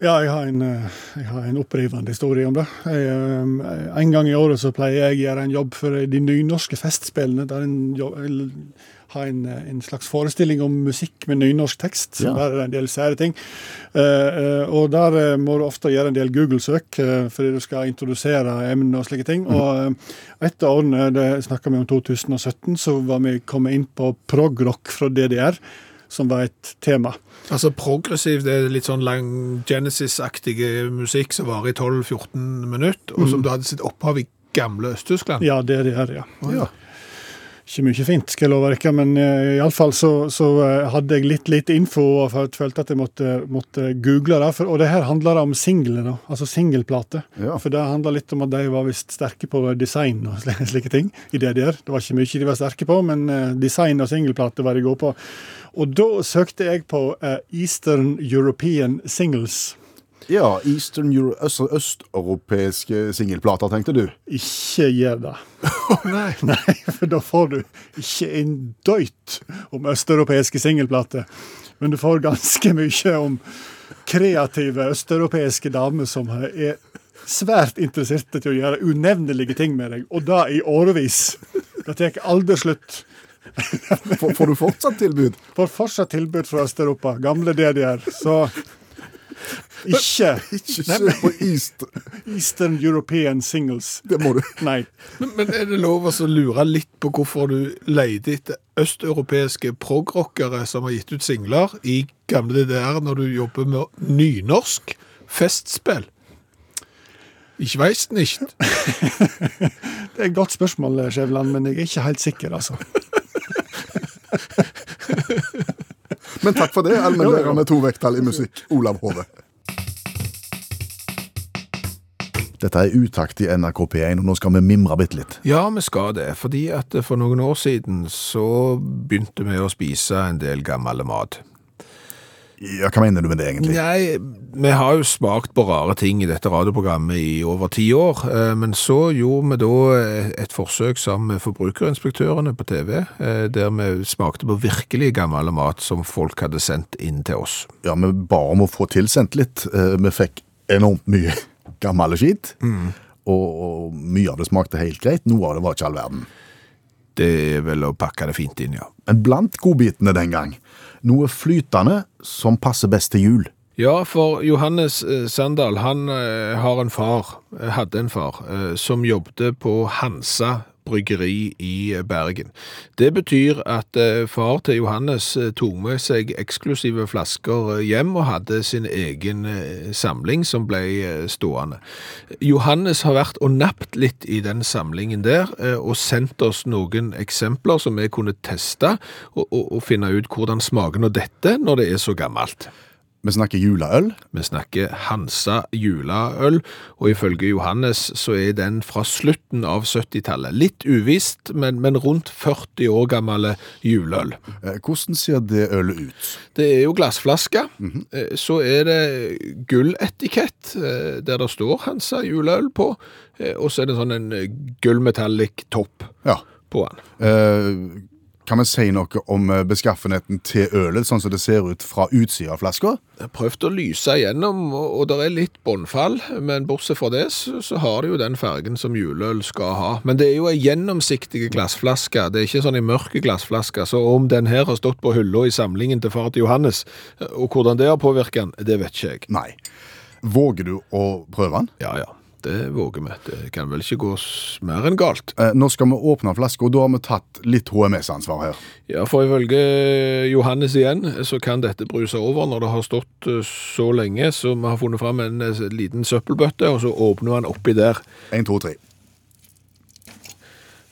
Ja, jeg har en, eh, jeg har en opprivende historie om det. Jeg, eh, en gang i året så pleier jeg å gjøre en jobb for de nynorske festspillene. Der en jo- eller har en, eh, en slags forestilling om musikk med nynorsk tekst.
Ja.
Der er det en del sære ting. Eh, eh, og der eh, må du ofte gjøre en del Google-søk, eh, fordi du skal introdusere emner og slike ting. Og eh, et av årene, det snakka vi om 2017, så var vi kommet inn på prog-rock fra DDR, som var et tema.
Altså progressiv, det er litt sånn lang Genesis-aktig musikk som varer i 12-14 minutter, og som du hadde sitt opphav i gamle Øst-Tyskland.
Ja, DDR, ja.
Ja.
Ikke mye fint, skal jeg love dere, men iallfall så, så eh, hadde jeg litt lite info og fø- følte at jeg måtte, måtte google det. For, og det her handler om singler, da, altså singelplater.
Ja.
For det handler litt om at de var visst sterke på design og [LAUGHS] sli- slike ting i DDR. Det var ikke mye de var sterke på, men eh, design og singelplater var de gode på. Og da søkte jeg på eh, Eastern European Singles.
Ja, Eastern Euro øst østeuropeiske singelplater, tenkte du.
Ikke gjør det.
Nei.
[LAUGHS] Nei, for da får du ikke en døyt om østeuropeiske singelplater. Men du får ganske mye om kreative østeuropeiske damer som er svært interesserte til å gjøre unevnelige ting med deg, og det i årevis. Det tar aldri slutt.
Får, får du fortsatt tilbud?
Får fortsatt tilbud fra Øst-Europa, gamle DDR, så ikke
[LAUGHS] Ikke søk på East.
Eastern European Singles.
Det må du.
Nei.
Men, men er det lov å så lure litt på hvorfor du leter etter østeuropeiske progrockere som har gitt ut singler i gamle DDR når du jobber med nynorsk festspill? Ich weiß nicht.
Det er et godt spørsmål, Skjæveland, men jeg er ikke helt sikker, altså.
Men takk [LAUGHS] for det, allmennlærer med to vekttall i musikk, Olav Hove. Dette er utakt i NRK P1, og nå skal vi mimre bitte litt.
Ja, vi skal det, fordi at for noen år siden så begynte vi å spise en del gammel mat.
Ja, Hva mener du med det, egentlig?
Nei, vi har jo smakt på rare ting i dette radioprogrammet i over ti år, eh, men så gjorde vi da eh, et forsøk sammen med forbrukerinspektørene på TV, eh, der vi smakte på virkelig gammel mat som folk hadde sendt inn til oss.
Ja, Vi ba om å få tilsendt litt. Eh, Vi fikk enormt mye [LAUGHS] gammel skitt. Og, og mye av det smakte helt greit, noe av det var ikke all verden.
Det er vel å pakke det fint inn, ja.
Men blant godbitene den gang, noe flytende som passer best til jul.
Ja, for Johannes eh, Sandal, han eh, har en far, eh, hadde en far, eh, som jobbet på Hansa bryggeri i eh, Bergen. Det betyr at eh, far til Johannes eh, tok med seg eksklusive flasker eh, hjem og hadde sin egen eh, samling som ble eh, stående. Johannes har vært og nappt litt i den samlingen der, eh, og sendt oss noen eksempler som vi kunne teste og, og, og finne ut hvordan smaken av dette når det er så gammelt.
Vi snakker juleøl.
Vi snakker Hansa juleøl, og ifølge Johannes så er den fra slutten av 70-tallet. Litt uvisst, men, men rundt 40 år gammel juleøl.
Eh, Hvordan ser det ølet ut?
Det er jo glassflaske. Eh, Så er det gulletikett, eh, der det står Hansa juleøl på, eh, og så er det en sånn en eh, gullmetallic topp
Ja.
på den.
Eh, kan vi si noe om eh, beskaffenheten til ølet, sånn som det ser ut fra utsida av flaska?
Jeg har prøvd å lyse igjennom, og og det er litt båndfall, men bortsett fra det så, så har det jo den fargen som juleøl skal ha. Men det er jo ei gjennomsiktig glassflaske, det er ikke sånn ei mørk glassflaske, så om den her har stått på hylla i samlingen til far til Johannes, og hvordan det har påvirket han, det vet ikke jeg.
Nei. Våger du å prøve den?
Ja, ja, det våger vi. Det kan vel ikke gå s- mer enn galt.
Eh, Nå skal vi åpne flaska, og da har vi tatt litt HMS-ansvar her.
Ja, for ifølge Johannes igjen, så kan dette bruse over når det har stått eh, så lenge, så vi har funnet fram en eh, liten søppelbøtte, og så åpner vi den oppi der.
Én, to, tre.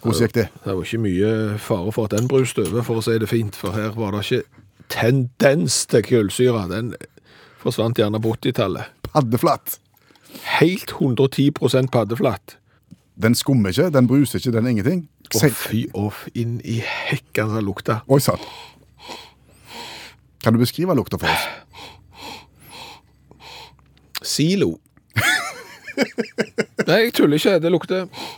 Hvordan gikk det?
Det var ikke mye fare for at den bruste over, for å si det fint, for her var det ikke tendens til kullsyre. Den forsvant gjerne på 80-tallet.
Paddeflatt!
Helt 110 paddeflatt.
Den skummer ikke, den bruser ikke, den er ingenting.
Og
Si-
fy off, inn i hekken som lukta.
Oi sann. Kan du beskrive lukta for oss? [LAUGHS]
Silo. [LAUGHS] Nei, jeg tuller ikke. Det lukter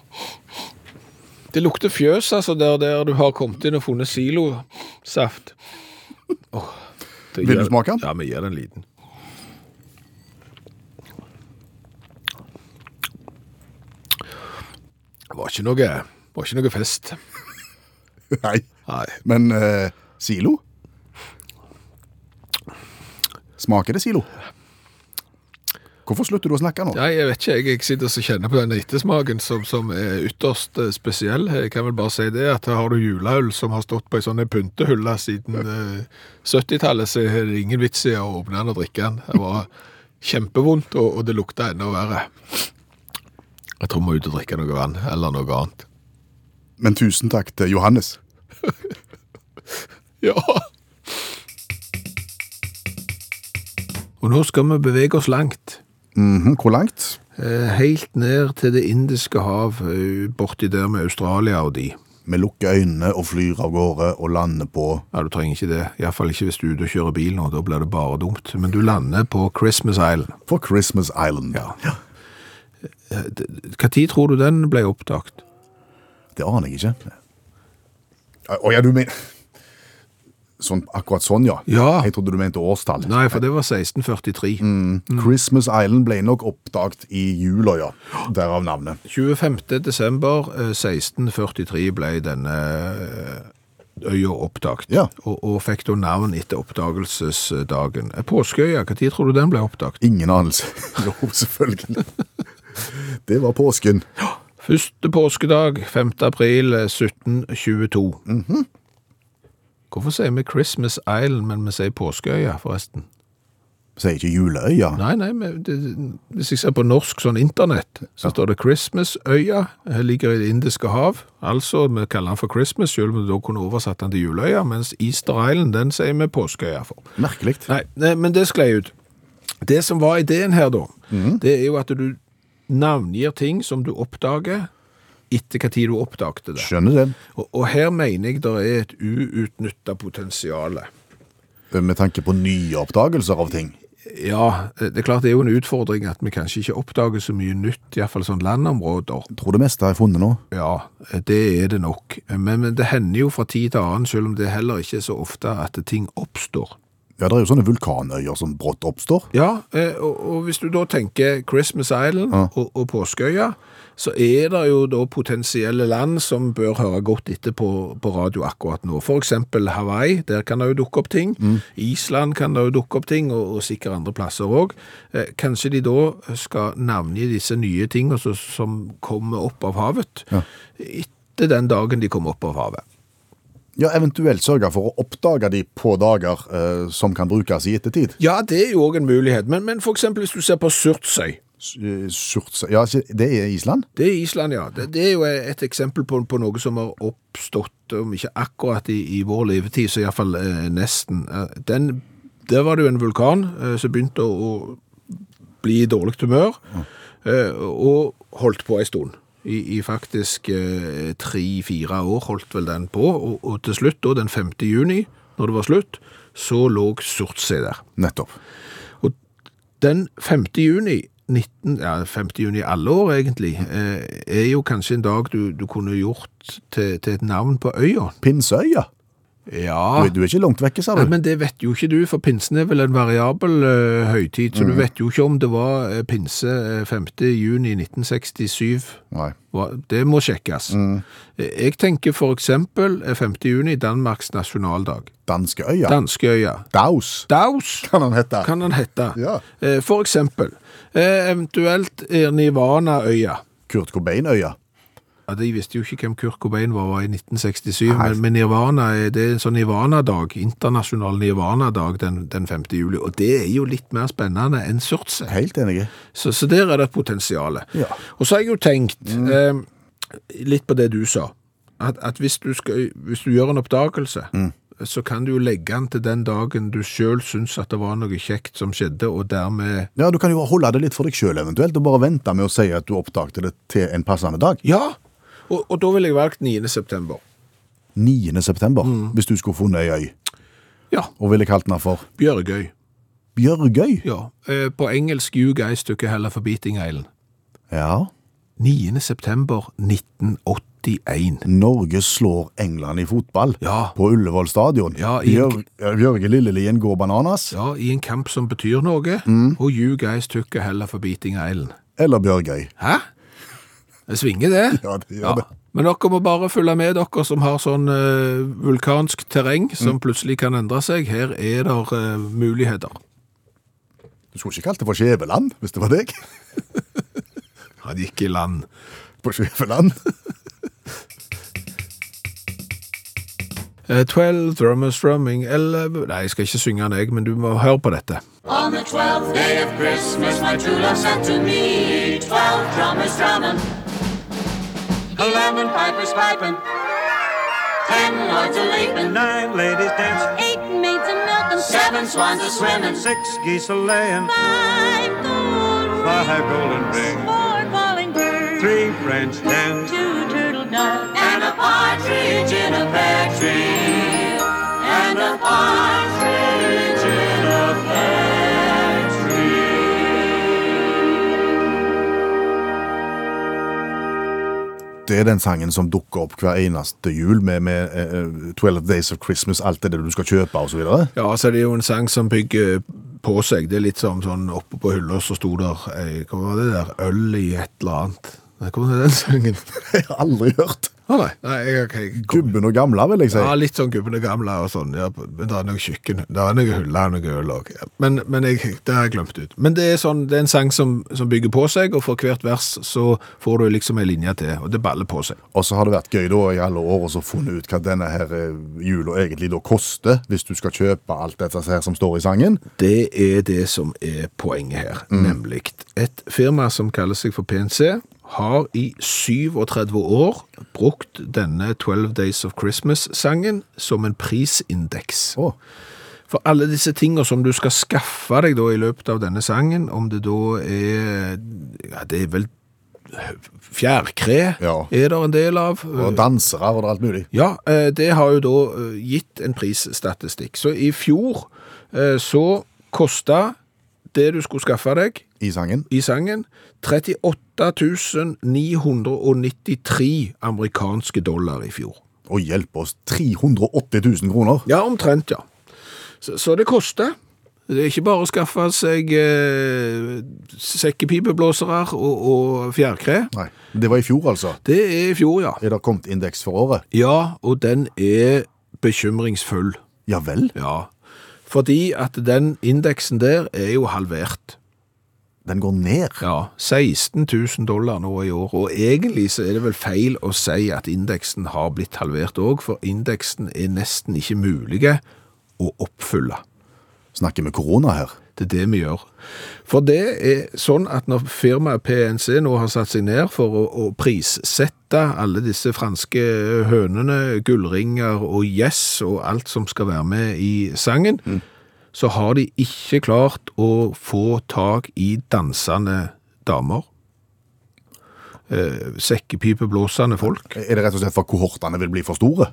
Det lukter fjøs, altså, der, der du har kommet inn og funnet silosaft. Åh, det
Vil du
gir-
smake den?
Ja, vi gir den en liten. Det var ikke noe, var ikke noe fest.
Nei.
Nei.
Men eh, silo? Smaker det silo? Hvorfor slutter du å snakke nå?
Nei, jeg vet ikke. Jeg, jeg sitter og kjenner på den ettersmaken som, som er ytterst eh, spesiell. Jeg kan vel bare si det at her har du juleøl som har stått på ei sånn pyntehylle siden eh, 70-tallet, så er det ingen vits i å åpne den og drikke den. Det var kjempevondt, og, og det lukta enda verre. Jeg tror vi må ut og drikke noe vann, eller noe annet.
Men tusen takk til Johannes.
Ja! Og nå skal vi bevege oss langt.
Mhm, Hvor langt?
Eh, Helt ned til det indiske hav, eh, borti der med Australia og de.
Vi lukker øynene og flyr av gårde og lander på
Ja, du trenger ikke det. Iallfall ikke hvis du er ute og kjører bil nå, da blir det bare dumt. Men du lander på Christmas Island.
For Christmas Island.
Ja. Hva tid tror du den ble opptatt?
Det aner jeg ikke. Å å ja, du mener sånn, Akkurat sånn, ja.
Ja.
Jeg trodde du mente årstall.
Nei, for det var 1643. Mm.
Christmas Island ble nok oppdaget i jula, ja. Derav navnet.
25. desember eh, 1643 ble denne eh, øya oppdaget,
Ja.
og, og fikk da navn etter oppdagelsesdagen. Eh, Påskeøya, hva tid tror du den ble oppdaget?
Ingen
[LAUGHS]
anelse. Jo, selvfølgelig. Det var påsken.
Første påskedag, 5. april eh, 1722. Hvorfor sier vi Christmas Island, men vi sier Påskeøya, forresten?
Sier ikke juleøya?
Nei, nei, men det, hvis jeg ser på norsk sånn internett, så står det Christmasøya, eh, ligger i det indiske hav. Altså, vi kaller den for Christmas, selv om vi da kunne oversatt den til juleøya, mens Easter Island, den sier vi Påskeøya for.
Merkelig.
Nei, nei, men det sklei ut. Det som var ideen her da, det er jo at du navngir ting som du oppdager etter hva tid du oppdagte det.
Skjønner det.
Og, og her mener jeg det er et uutnyttet potensiale.
Eh, Med tanke på nye oppdagelser av ting.
Ja, eh, det er klart det er jo en utfordring at vi kanskje ikke oppdager så mye nytt, i hvert fall sånn landområder.
Tror det meste er funnet nå.
Ja, eh, det er det nok. Eh, Men, men det hender jo fra tid til annen, selv om det heller ikke er så ofte at ting oppstår.
Ja, det er jo sånne vulkanøyer som brått oppstår.
Ja, eh, og, og hvis du da tenker Christmas Island og, og Påskeøya, så er det jo da potensielle land som bør høre godt etter på, på radio akkurat nå. For eksempel Hawaii, der kan det jo dukke opp ting. Island kan det jo dukke opp ting, og, og sikkert andre plasser òg. Eh, kanskje de da skal navngi disse nye tingene som- som kommer opp av havet, etter den dagen de kommer opp av havet.
Ja, Eventuelt sørge for å oppdage de på dager eh, som kan brukes i ettertid.
Ja, det er jo òg en mulighet, men, men for eksempel hvis du ser på Surtsøy.
S- eh, Surtsøy Ja, ikke- det er Island?
Det er Island, ja. Det, det er jo et eksempel på, på noe som har oppstått, om ikke akkurat i, i vår levetid, så iallfall eh, nesten. Eh, Den Der var det jo en vulkan eh, som begynte å å bli i dårlig humør, eh, og holdt på en stund. I, i faktisk eh, tre-fire år holdt vel den på, og, og til slutt, da, den 5. juni, når det var slutt, så lå Surtsey der.
Nettopp.
Den 5. juni 19, ja, 5. juni alle år, egentlig, eh, er jo kanskje en dag du, du kunne gjort til, til et navn på øya.
Pinseøya.
Ja.
Du, du er ikke langt vekke, sa du.
Ah. Nei, men det vet jo ikke du, for pinsen er vel en variabel eh, høytid, så du vet jo ikke om det var eh, pinse eh, 5. juni 1967.
Nei.
Hva- Det må sjekkes. Eh, Jeg tenker for eksempel eh, 5. juni, Danmarks nasjonaldag.
Danskeøya.
Danskeøya.
Daus,
Daus
kan han hete.
kan den hette.
Ja.
Eh, For eksempel, eh, eventuelt eh, Nirvanaøya.
Kurt Cobain-øya.
Ja, de visste jo ikke hvem Kurt Cobain var, var i 1967, men, men Nirvana er, det er en sånn Nirvana-dag, internasjonal Nirvana-dag den, den 5. juli, og det er jo litt mer spennende enn Surtse.
Helt enig.
Så, så der er det et potensiale.
Ja. Mm.
Og så har jeg jo tenkt, eh, litt på det du sa, at, at hvis, du skal, hvis du gjør en oppdagelse,
Mm.
så kan du jo legge den til den dagen du selv synes at det var noe kjekt som skjedde, og dermed
Ja, Du kan jo holde det litt for deg sjøl eventuelt, og bare vente med å si at du oppdaget det til en passende dag.
Ja! Og, og da vil jeg valgt 9. september.
9. september,
Mm.
hvis du skulle funnet ei øy,
Ja,
og ville kalt den for
Bjørgøy.
Bjørgøy.
Ja, eh, på engelsk You Guys Took a Hell of a Beating Island.
Ja.
9. september 1981.
Norge slår England i fotball.
Ja.
På Ullevål stadion.
Ja, i-
Bjør, Bjørge Lillelien går bananas.
Ja, i en kamp som betyr noe, og You Guys Took a Hell of a Beating Island.
Eller Bjørgøy.
Hæ? Det svinger det?
Ja, det gjør
Ja.
det.
Men dere må bare følge med, dere som har sånn eh, vulkansk terreng som plutselig kan endre seg. Her er det muligheter.
Du skulle ikke kalt det for Skjæveland, hvis det var deg. [LAUGHS]
Han gikk i land.
På Skjæveland.
Eh, 12 drummers drumming, 11 Nei, jeg skal ikke synge den, jeg, men du må høre på dette.
On the twelfth day of Christmas, my true love sent to me twelve drummers drumming, eleven pipers piping, ten lords a leaping,
Nine ladies dancing,
eight maids a milking, seven swans a swimming,
six geese a laying,
five gold
five golden
rings,
rings,
four calling birds,
three French hens,
two turtle doves, and a partridge in a pear tree, and a partridge in a pear tree.
Det er den sangen som dukker opp hver eneste jul med, med eh, eh, 12 Days of Christmas, alt det du skal kjøpe osv.
Ja, altså det er jo en sang som bygger på seg. Det er litt som sånn oppe på hylla så sto der eh, Hva var det der? Øl i et eller annet. Nei, Hva var den sangen? [LAUGHS]
[LAUGHS] Jeg har aldri hørt.
Å nei. nei jeg, jeg, jeg,
Gubben og gamla, vil jeg si.
ja, litt sånn gubbene gamle og sånn. Ja, men det er noe kjøkken, det er noe hylle og noe øl òg. Men, men jeg, det har jeg glemt ut. Men det er, sånn, det er en sang som, som bygger på seg, og for hvert vers så får du liksom ei linje til, og det baller på seg.
Og så har det vært gøy da i alle år å funne ut hva denne her eh, jula egentlig da koster, hvis du skal kjøpe alt dette her som står i sangen.
Det er det som er poenget her,
Mm.
nemlig et firma som kaller seg for PNC, har i 37 år brukt denne 12 Days of Christmas-sangen som en prisindeks.
Å.
For alle disse tingene som du skal skaffe deg da i løpet av denne sangen, om det da er ja, det er vel fjærkre,
Ja.
er det en del av.
Og dansere og alt mulig.
Ja, eh, det har jo da eh, gitt en prisstatistikk. Så i fjor eh, så kosta det du skulle skaffe deg
I sangen.
i sangen, 38 993 amerikanske dollar i fjor.
Og hjelpe oss 380 000 kroner.
Ja, omtrent, ja. Så, så det koster. Det er ikke bare å skaffe seg eh, sekkepipeblåsere og, og fjærkre.
Nei, men Det var i fjor, altså.
Det er i fjor, ja.
Er det kommet indeks for året?
Ja, og den er bekymringsfull.
Ja vel.
Ja, fordi at den indeksen der er jo halvert.
Den går ned.
Ja, 16 000 dollar nå i år, og egentlig så er det vel feil å si at indeksen har blitt halvert òg, for indeksen er nesten ikke mulig å oppfylle.
Snakker vi korona her?
Det er det vi gjør. For det er sånn at når firmaet PNC nå har satt seg ned for å, å prissette alle disse franske hønene, gullringer og gjess og alt som skal være med i sangen, så har de ikke klart å få tak i dansende damer. Eh, sekkepipeblåsende folk.
Er det rett og slett for kohortene vil bli for store?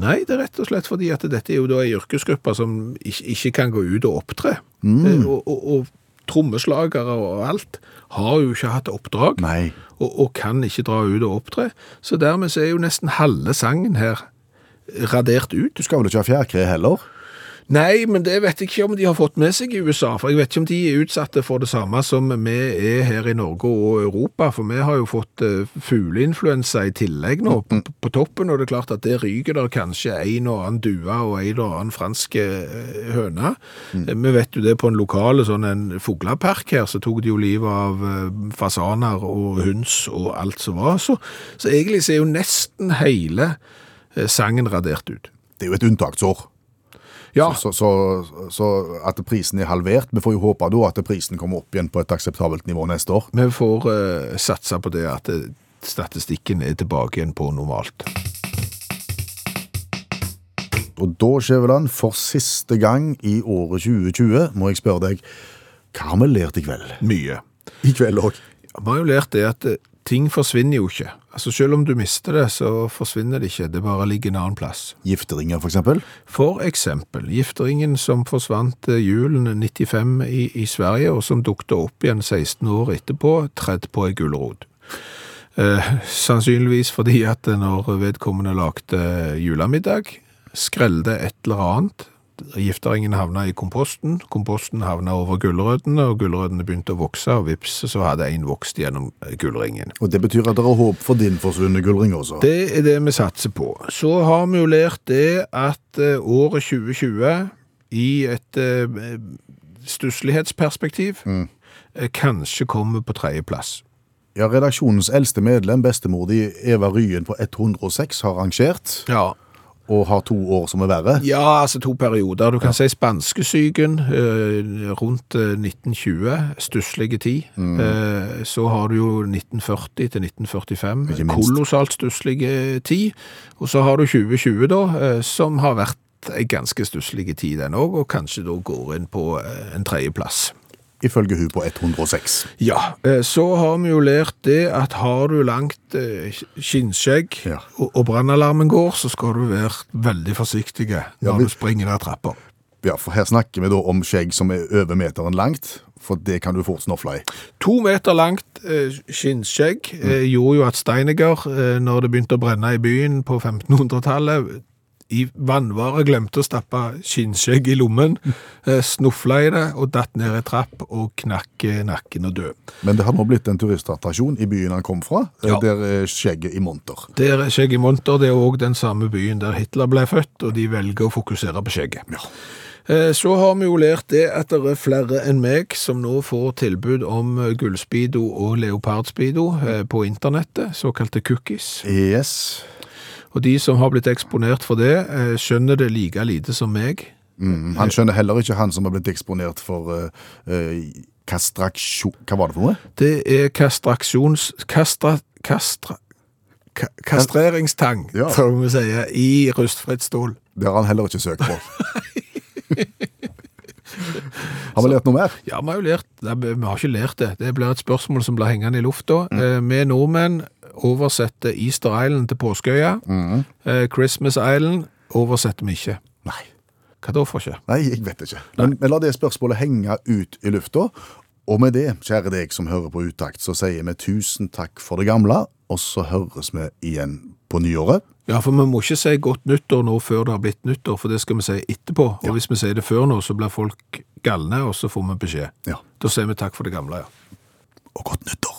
Nei, det er rett og slett fordi at dette er jo da ei yrkesgruppe som ikke, ikke kan gå ut og opptre. Eh, og og, og trommeslagere og alt har jo ikke hatt oppdrag
Nei.
og, og kan ikke dra ut og opptre. Så dermed så er jo nesten halve sangen her radert ut.
Du skal vel ikke ha fjærkre heller?
Nei, men det vet jeg ikke om de har fått med seg i USA, for jeg vet ikke om de er utsatte for det samme som vi er her i Norge og Europa, for vi har jo fått eh, fugleinfluensa i tillegg nå på, på toppen, og det er klart at det ryker der kanskje en og annen due og en og annen fransk eh, høne. Eh, Vi vet jo det på en lokale sånn en fuglepark her, så tok de jo livet av eh, fasaner og hunds og alt som var, så, så egentlig så er jo nesten hele eh, sangen radert ut.
Det er jo et unntaksår.
Ja,
Så, så, så at prisen er halvert Vi får jo håpe da at prisen kommer opp igjen på et akseptabelt nivå neste år.
Vi får eh, satse på det at eh, statistikken er tilbake igjen på normalt.
Og da, Skjæveland, for siste gang i året 2020 må jeg spørre deg hva har vi lært i kveld?
Mye.
I kveld òg.
Vi har jo lært det at eh, ting forsvinner jo ikke. Altså Selv om du mister det, så forsvinner det ikke. Det bare ligger en annen plass.
Gifteringer, for eksempel.
For eksempel gifteringen som forsvant eh, julen 95 i, i Sverige, og som dukte opp igjen 16 år etterpå, tredd på ei gulrot. Eh, sannsynligvis fordi at når vedkommende lagde julemiddag, skrelde et eller annet, gifteringen havna i komposten, komposten havna over gulrøttene, og gulrøttene begynte å vokse, og vips, så hadde en vokst gjennom eh, gullringen.
Og det betyr at det er håp for din forsvunne gullring også.
Det er det vi satser på. Så har vi jo lært det at eh, året 2020 i et eh, stusslighetsperspektiv eh, kanskje kommer på tredjeplass.
Ja, redaksjonens eldste medlem, bestemor di Eva Ryen på 106, har rangert,
Ja.
og har to år som er verre.
ja, altså to perioder. Du kan si spanskesyken eh, rundt eh, 1920, stusslige tid.
Mm.
Eh, så har du jo 1940 til 1945,
Ikke minst.
kolossalt stusslige tid. Og så har du 2020 da, eh, som har vært en ganske stusslige tid den òg, og kanskje da går inn på eh, en tredjeplass.
Ifølge hun på 106.
Ja, eh, så har vi jo lært det at har du langt eh, skinnskjegg
Ja.
og, og brannalarmen går, så skal du være veldig forsiktig når
men-
du springer ned trappa.
Ja, for her snakker vi da om skjegg som er over meteren langt, for det kan du fort snofle i.
To meter langt eh, skinnskjegg eh, gjorde jo at Steineger, eh, når det begynte å brenne i byen på 1500-tallet, i vannvare glemte å stappe skinnskjegg i lommen, eh, snufla i det og datt ned i trapp og knakk eh, nakken og død.
Men det har nå blitt en turistattraksjon i byen han kom fra, eh,
Ja.
der er skjegget i monter.
Der er skjegg i monter, det er òg den samme byen der Hitler ble født, og de velger å fokusere på skjegget. Eh, Så har vi jo lært det at det er flere enn meg som nå får tilbud om eh, gullspeedo og leopardspido eh, på internettet, såkalte cookies.
Yes.
Og de som har blitt eksponert for det, eh, skjønner det like lite som meg.
Mm, Han skjønner heller ikke han som har blitt eksponert for eh, eh, kastraksjon... Hva var det for noe?
Det er kastraksjons... Kastra... Kastra... ka- Kastreringstang,
Ja.
som vi sier, i rustfritt stål.
Det har han heller ikke søkt [LAUGHS] på. Har vi lært noe mer?
Ja, vi har jo lært Nei, vi vi har ikke lært det. Det blir et spørsmål som blir hengende i lufta. Eh, Vi nordmenn oversetter Easter Island til Påskeøya. Eh, Christmas Island oversetter vi ikke.
Nei.
Hva da for ikke?
Nei, jeg vet ikke. Men, men la det spørsmålet henge ut i lufta. Og med det, kjære deg som hører på Utakt, så sier vi tusen takk for det gamle, og så høres vi igjen på nyåret.
Ja, for vi må ikke si godt nyttår nå før det har blitt nyttår, for det skal vi si etterpå. Og hvis vi sier det før nå, så blir folk galne, og så får vi beskjed.
Ja.
Da sier vi takk for det gamle, ja.
Og godt nyttår!